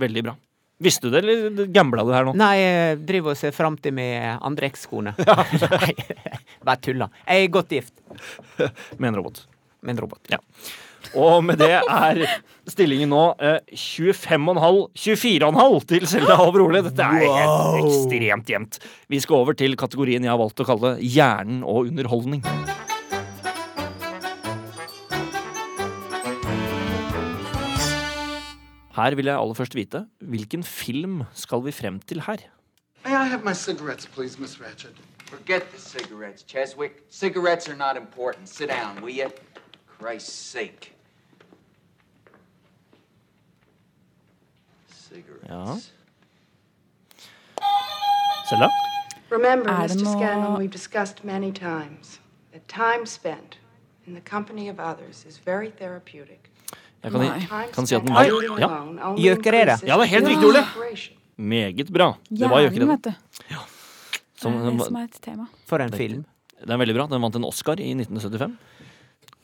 Speaker 1: Veldig bra. Visste du det, eller gambla du her nå?
Speaker 3: Nei, jeg driver og ser fram til med andre ekskone. Nei, bare tulla. Jeg er godt gift
Speaker 1: Med en robot.
Speaker 3: med en robot.
Speaker 1: Og med det er stillingen nå eh, 25,5 24,5 til Selda og Brole. Dette er helt ekstremt jevnt. Vi skal over til kategorien jeg har valgt å kalle Hjernen og underholdning. Her vil jeg aller først vite hvilken film skal vi frem til her?
Speaker 8: May I have my cigarettes, please, Miss Ratchet?
Speaker 9: Forget the cigarettes, Cheswick. Cigarettes are not important. Sit down, will you? Christ's sake.
Speaker 1: Ja. Selda?
Speaker 5: Remember,
Speaker 2: Er det
Speaker 5: Mr. Scanlon,
Speaker 2: noe-
Speaker 5: we've discussed many times that time spent in the company of others is very therapeutic.
Speaker 1: Jeg kan,
Speaker 5: Time
Speaker 1: kan si at
Speaker 5: spent
Speaker 1: den var
Speaker 5: living
Speaker 1: ja,
Speaker 5: alone only
Speaker 3: Gjøker er det.
Speaker 5: increases
Speaker 1: Ja, det er helt
Speaker 5: the
Speaker 1: riktig, Ole.
Speaker 5: separation.
Speaker 1: meget bra. Det var jo ikke
Speaker 2: Hjernen,
Speaker 1: det.
Speaker 2: vet du.
Speaker 1: Som,
Speaker 2: Det er det som er et tema.
Speaker 3: For en film.
Speaker 1: den er veldig bra. Den vant en Oscar i 1975.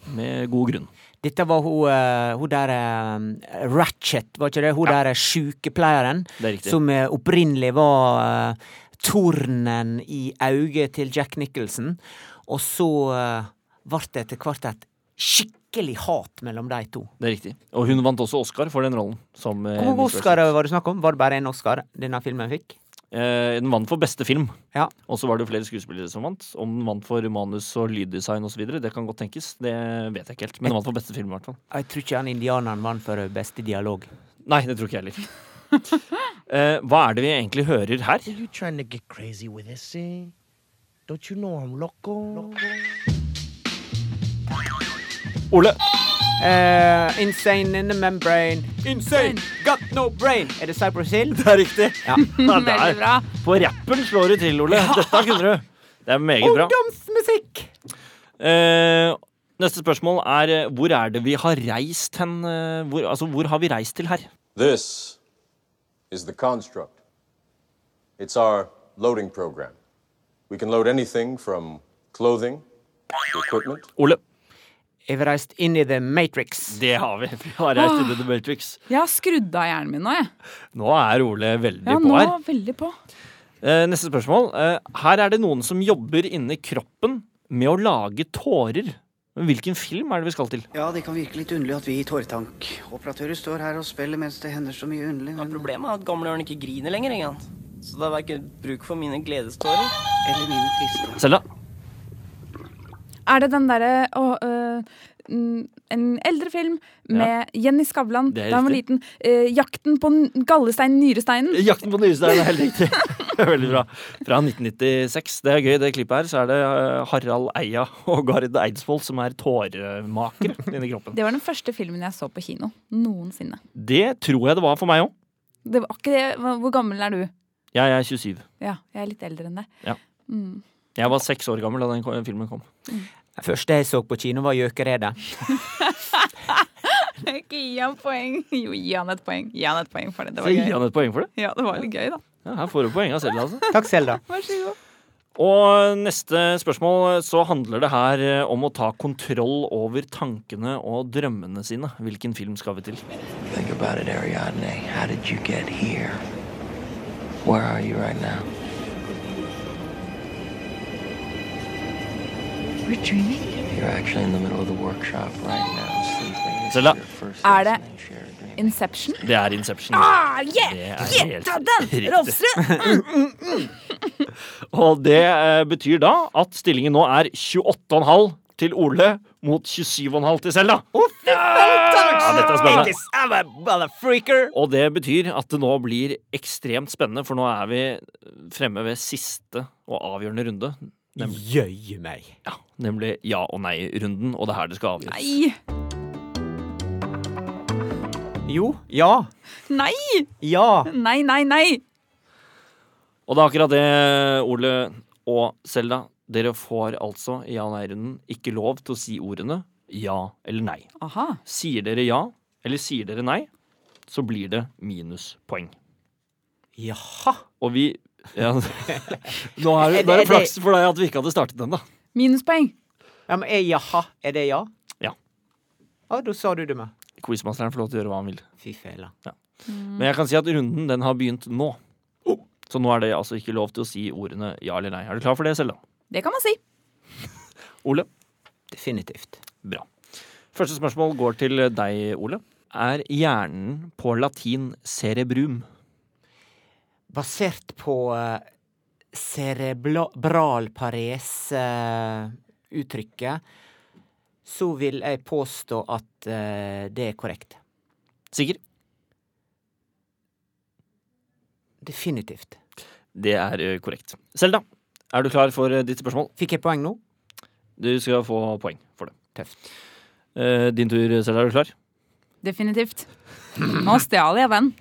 Speaker 1: Med god grunn.
Speaker 3: Dette var hun, eh, hun der eh, Ratchet, var ikke det? Hun der sjukepleieren
Speaker 1: Det er riktig.
Speaker 3: som eh, opprinnelig var eh, tornen i øyet til Jack Nicholson. Og så eh, ble det etter hvert et skikkelig hat mellom de to.
Speaker 1: Det er riktig. Og hun vant også Oscar for den rollen. Som, eh,
Speaker 3: Hvor mange
Speaker 1: Miss Ratched.
Speaker 3: Oscarer var det snakk om? Var det bare én Oscar denne filmen fikk?
Speaker 1: Eh, den vant for beste film.
Speaker 3: Ja.
Speaker 1: Og så var det jo flere skuespillere som vant. Om den vant for manus og lyddesign osv., det kan godt tenkes. Det vet jeg ikke helt. Men den vant for beste film, i hvert fall.
Speaker 3: Jeg tror ikke han indianeren vant for eh, beste dialog.
Speaker 1: Nei, det tror ikke jeg heller. Eh, hva er det vi egentlig hører her?
Speaker 10: You trying to get crazy with this, eh? Don't you know I'm loco?
Speaker 1: Ole!
Speaker 3: Eh, insane in the membrane. Insane, got no brain. Er det Cypress Hill?
Speaker 1: Det er riktig!
Speaker 3: Ja.
Speaker 1: Ja,
Speaker 2: Veldig bra.
Speaker 1: På rappen slår du til, Ole. Dette kunne du. Det er meget bra.
Speaker 3: Ungdomsmusikk!
Speaker 1: Eh, neste spørsmål er eh, hvor er det vi har reist hen? eh, Hvor, altså, hvor har vi reist til her?
Speaker 10: This is the construct. It's our loading program. We can load anything from clothing to equipment.
Speaker 1: Ole.
Speaker 3: Jeg har reist inn i The Matrix.
Speaker 1: Det har vi. Vi har reist
Speaker 2: Ah.
Speaker 1: til The Matrix.
Speaker 2: Jeg har skrudd av hjernen min nå, jeg.
Speaker 1: Nå er Ole veldig
Speaker 2: Ja,
Speaker 1: på
Speaker 2: nå
Speaker 1: her.
Speaker 2: veldig på.
Speaker 1: Eh, neste spørsmål. Eh, her er det noen som jobber inni kroppen med å lage tårer. Men hvilken film er det vi skal til?
Speaker 10: Ja, det kan virke litt underlig at vi tåretankoperatører står her og spiller mens det hender så mye underlig. Men... Problemet er at gamleørn ikke griner lenger, engang. Så det er verken bruk for mine gledestårer Eller mine triste.
Speaker 1: Selda?
Speaker 2: Er det den derre å, øh, mm, En eldre film med Jenny Skavlan
Speaker 1: Det er
Speaker 2: da hun var liten. Eh, 'Jakten på n- gallesteinen Nyresteinen'.
Speaker 1: Jakten på nyresteinen er helt riktig. Veldig bra. Fra 1996. Det er gøy, det klippet her. Så er det eh, Harald Eia og Gard Eidsvoll som er tåremakere inni kroppen.
Speaker 2: Det var den første filmen jeg så på kino noensinne.
Speaker 1: Det tror jeg det var for meg òg.
Speaker 2: Det var ikke det, hva- Hvor gammel er du?
Speaker 1: Jeg er 27.
Speaker 2: Ja, jeg er litt eldre enn deg.
Speaker 1: Jeg var seks år gammel da den ko- filmen kom.
Speaker 3: Det første jeg så på kino, var Gjøkeredet.
Speaker 2: Ikke gi han poeng. Jo, gi han et poeng. Gi han et poeng for det. Det
Speaker 1: Så
Speaker 2: var
Speaker 1: jeg gir
Speaker 2: gøy.
Speaker 1: han et poeng for det.
Speaker 2: Ja, det var litt gøy, da.
Speaker 1: Ja, her får du poeng av Selda, altså.
Speaker 3: Takk, Selda.
Speaker 2: Vær så god.
Speaker 1: Og neste spørsmål så handler det her eh, om å ta kontroll over tankene og drømmene sine. Hvilken film skal vi til?
Speaker 10: Think about it, Ariadne. How did you get here? Where are you right now? We're dreaming. You're actually in the middle of the workshop right now, sleeping. This is
Speaker 1: Selda.
Speaker 10: your first
Speaker 2: Er det-
Speaker 10: listening share dream.
Speaker 2: Inception.
Speaker 1: Det er Inception.
Speaker 2: Ah, yeah!
Speaker 1: er helt
Speaker 2: Gjetta den!
Speaker 1: riktig.
Speaker 2: Rolfsrud!
Speaker 1: Og det eh, betyr da at stillingen nå er 28,5 til Ole mot 27,5 til Selda. Ja, dette er spennende.
Speaker 3: I'm a motherfreaker.
Speaker 1: Og det betyr at det nå blir ekstremt spennende, for nå er vi fremme ved siste og avgjørende runde.
Speaker 3: Jøye meg.
Speaker 1: Ja, nemlig ja- og nei-runden, og det er her det skal avgjøres.
Speaker 2: Nei!
Speaker 3: Jo. Ja.
Speaker 2: Nei!
Speaker 3: Ja.
Speaker 2: Nei, nei, nei!
Speaker 1: Og det er akkurat det, Ole og Selda. Dere får altså i ja- og nei-runden ikke lov til å si ordene ja eller nei.
Speaker 2: Aha.
Speaker 1: Sier dere ja, eller sier dere nei, så blir det minuspoeng.
Speaker 3: Jaha.
Speaker 1: Og vi ja, Nå er det, nå er det flaks for deg at vi ikke hadde startet den, da.
Speaker 2: Minuspoeng.
Speaker 3: Ja, men er jaha Er det ja?
Speaker 1: Ja.
Speaker 3: Ja, da sa du det med.
Speaker 1: Quizmasteren får lov til å gjøre hva han vil.
Speaker 3: Fy fela.
Speaker 1: Men jeg kan si at runden den har begynt nå. Så nå er det altså ikke lov til å si ordene ja eller nei. Er du klar for det, Selda?
Speaker 2: Det kan man si.
Speaker 1: Ole?
Speaker 3: Definitivt.
Speaker 1: Bra. Første spørsmål går til deg, Ole. Er hjernen på latin cerebrum?
Speaker 3: Basert på eh, cerebral parese-uttrykket, så vil jeg påstå at eh, det er korrekt.
Speaker 1: Sikker?
Speaker 3: Definitivt.
Speaker 1: Det er ø, korrekt. Selda, er du klar for ø, ditt spørsmål?
Speaker 3: Fikk jeg poeng nå?
Speaker 1: Du skal få poeng for det.
Speaker 3: Tøft.
Speaker 1: Eh, Din tur, Selda. Er du klar?
Speaker 2: Definitivt. Nå stjal jeg den.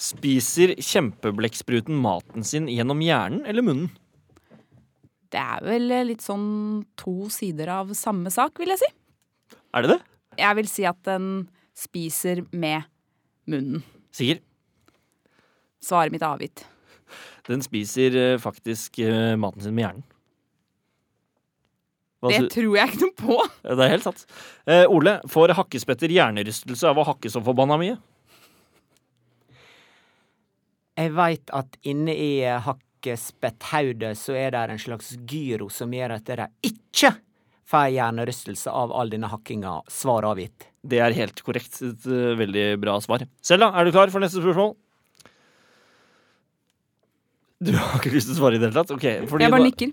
Speaker 1: Spiser kjempeblekkspruten maten sin gjennom hjernen eller munnen?
Speaker 2: Det er vel litt sånn to sider av samme sak, vil jeg si.
Speaker 1: Er det det?
Speaker 2: Jeg vil si at den spiser med munnen.
Speaker 1: Sikker?
Speaker 2: Svaret mitt er avgitt.
Speaker 1: Den spiser eh, faktisk eh, maten sin med hjernen. Hva
Speaker 2: Det
Speaker 1: sy-
Speaker 2: tror jeg ikke noe på.
Speaker 1: Ja, Det er helt sant. Eh, Ole, får hakkespetter hjernerystelse av å hakke så forbanna mye?
Speaker 3: Jeg veit at inne i eh, hakkespetthaudet så er det en slags gyro som gjør at de ikke får hjernerystelse av all denne hakkinga. Svar avgitt.
Speaker 1: Det er helt korrekt. Et eh, veldig bra svar. Selda, er du klar for neste spørsmål? Du har ikke lyst til å svare i det hele tatt? Ok, fordi
Speaker 2: Jeg bare
Speaker 1: nå-
Speaker 2: nikker.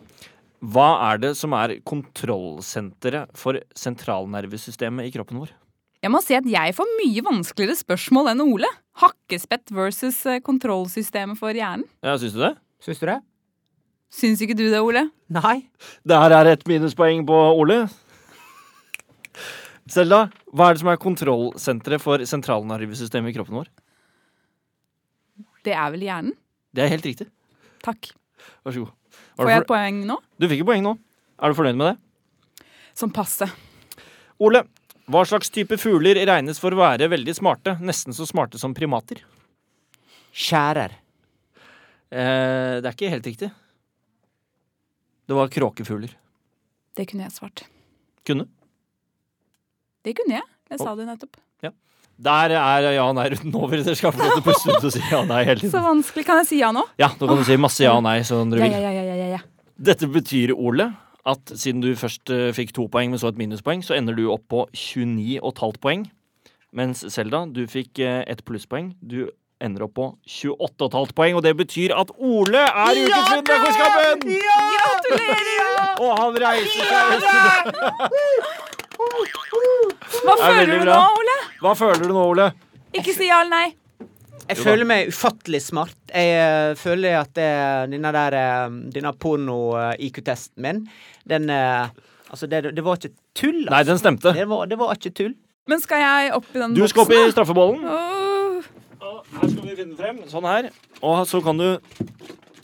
Speaker 1: Hva er det som er kontrollsenteret for sentralnervesystemet i kroppen vår?
Speaker 2: Jeg må si at jeg får mye vanskeligere spørsmål enn Ole. Hakkespett versus eh, kontrollsystemet for hjernen.
Speaker 1: Ja, Syns du det?
Speaker 3: Syns du det?
Speaker 2: Syns ikke du det, Ole?
Speaker 3: Nei.
Speaker 1: Der er et minuspoeng på Ole. Selda, hva er det som er kontrollsenteret for sentralnervesystemet i kroppen vår?
Speaker 2: Det er vel hjernen?
Speaker 1: Det er helt riktig.
Speaker 2: Takk.
Speaker 1: Vær så god. Var du
Speaker 2: Får jeg et
Speaker 1: for...
Speaker 2: poeng nå?
Speaker 1: Du fikk et poeng nå. Er du fornøyd med det?
Speaker 2: Som passe.
Speaker 1: Ole, hva slags type fugler regnes for å være veldig smarte? Nesten så smarte som primater.
Speaker 3: Skjærer.
Speaker 1: Eh, det er ikke helt riktig. Det var kråkefugler.
Speaker 2: Det kunne jeg svart.
Speaker 1: Kunne.
Speaker 2: Det kunne jeg. Jeg sa det nettopp.
Speaker 1: Der er ja og nei-runden over. Dere skal få lov til å puste ut og si ja og nei hele
Speaker 2: Så
Speaker 1: tiden.
Speaker 2: vanskelig. Kan jeg si ja nå?
Speaker 1: Ja, nå kan du si masse ja og nei som dere
Speaker 2: Ja,
Speaker 1: vil.
Speaker 2: ja, ja, ja, ja, ja.
Speaker 1: Dette betyr, Ole, at siden du først eh, fikk to poeng, men så et minuspoeng, så ender du opp på 29,5 poeng. Mens Selda, du fikk eh, ett plusspoeng. Du ender opp på 28,5 poeng, og det betyr at Ole er ukens vinner av Quizkampen! Og han reiser seg.
Speaker 2: Hva
Speaker 1: Det er
Speaker 2: føler
Speaker 1: veldig
Speaker 2: du nå,
Speaker 1: bra.
Speaker 2: Ole?
Speaker 1: Hva føler du nå, Ole?
Speaker 2: Ikke si ja eller nei.
Speaker 3: Jeg føler meg ufattelig smart. Jeg eh, føler at eh, denne der eh, Denne porno-IQ-testen min, den eh, Altså, det, det var ikke tull. altså.
Speaker 1: Nei, den stemte.
Speaker 3: Det var, det var ikke tull.
Speaker 2: Men skal jeg opp i den
Speaker 1: Du skal opp i
Speaker 2: boksen, da? Uh.
Speaker 1: straffebollen.
Speaker 2: Åh,
Speaker 1: Her skal vi finne frem. Sånn her. Og så kan du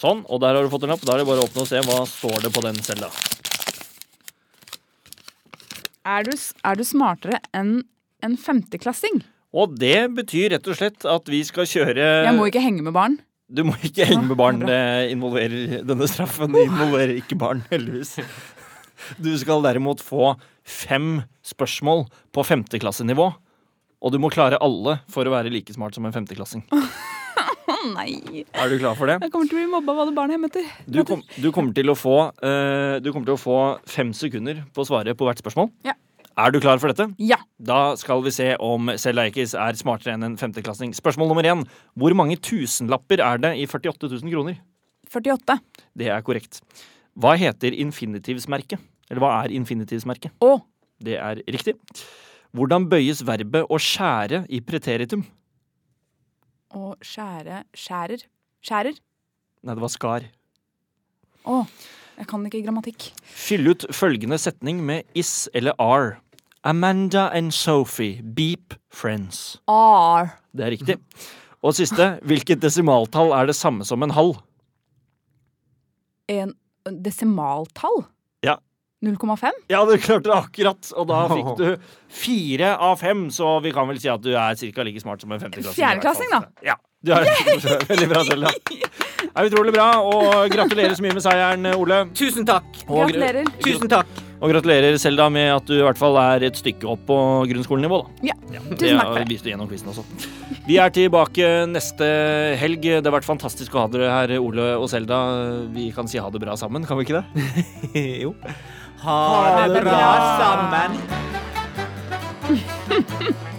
Speaker 1: Sånn. Og der har du fått en lapp. Da er det bare å åpne og se hva står det på den Selda.
Speaker 2: er, du, s- er du smartere enn en femteklassing?
Speaker 1: Og det betyr rett og slett at vi skal kjøre
Speaker 2: Jeg må ikke henge med barn.
Speaker 1: Du må ikke henge med barn. Det involverer Denne straffen involverer ikke barn, heldigvis. Du skal derimot få fem spørsmål på femteklassenivå. Og du må klare alle for å være like smart som en femteklassing.
Speaker 2: Å nei.
Speaker 1: Er du klar for det?
Speaker 2: Jeg kommer til å bli mobba av alle barn hjemme etter.
Speaker 1: Du, kom, du, kommer til å få, eh, du kommer til å få fem sekunder på å svare på hvert spørsmål.
Speaker 2: Ja.
Speaker 1: Er du klar for dette?
Speaker 2: Ja.
Speaker 1: Da skal vi se om Selda Eikis er smartere enn en femteklassing. Spørsmål nummer én. Hvor mange tusenlapper er det i 48 000 kroner?
Speaker 2: 48.
Speaker 1: Det er korrekt. Hva heter infinitivsmerket? Eller hva er infinitivsmerket?
Speaker 2: Å,
Speaker 1: Det er riktig. Hvordan bøyes verbet å skjære i preteritum?
Speaker 2: å skjære Skjærer. Skjærer.
Speaker 1: Nei, det var skar.
Speaker 2: Å, jeg kan ikke grammatikk.
Speaker 1: Fyll ut følgende setning med is eller are. Amanda and Sophie, beep friends.
Speaker 2: R.
Speaker 1: Det er riktig. Og siste, hvilket desimaltall er det samme som en halv?
Speaker 2: En desimaltall?
Speaker 1: Ja.
Speaker 2: 0,5?
Speaker 1: Ja, du klarte det akkurat, og da fikk du fire av fem, så vi kan vel si at du er cirka like smart som en femteklassing. i hvert fall.
Speaker 2: Fjerdeklassing, da.
Speaker 1: Ja. Du er veldig bra selv, da. Det er utrolig bra, og gratulerer så mye med seieren, Ole.
Speaker 3: Tusen takk!
Speaker 1: Og,
Speaker 2: Gratulerer.
Speaker 3: Tusen takk!
Speaker 1: og gratulerer Selda med at du i hvert fall er et stykke opp på grunnskolenivå, da.
Speaker 2: Ja.
Speaker 1: Det
Speaker 2: Tusen takk for det.
Speaker 1: viste du gjennom quizen også. Vi er tilbake neste helg. Det har vært fantastisk å ha dere her, Ole og Selda. Vi kan si ha det bra sammen, kan vi ikke det?
Speaker 3: jo. Ha det bra sammen.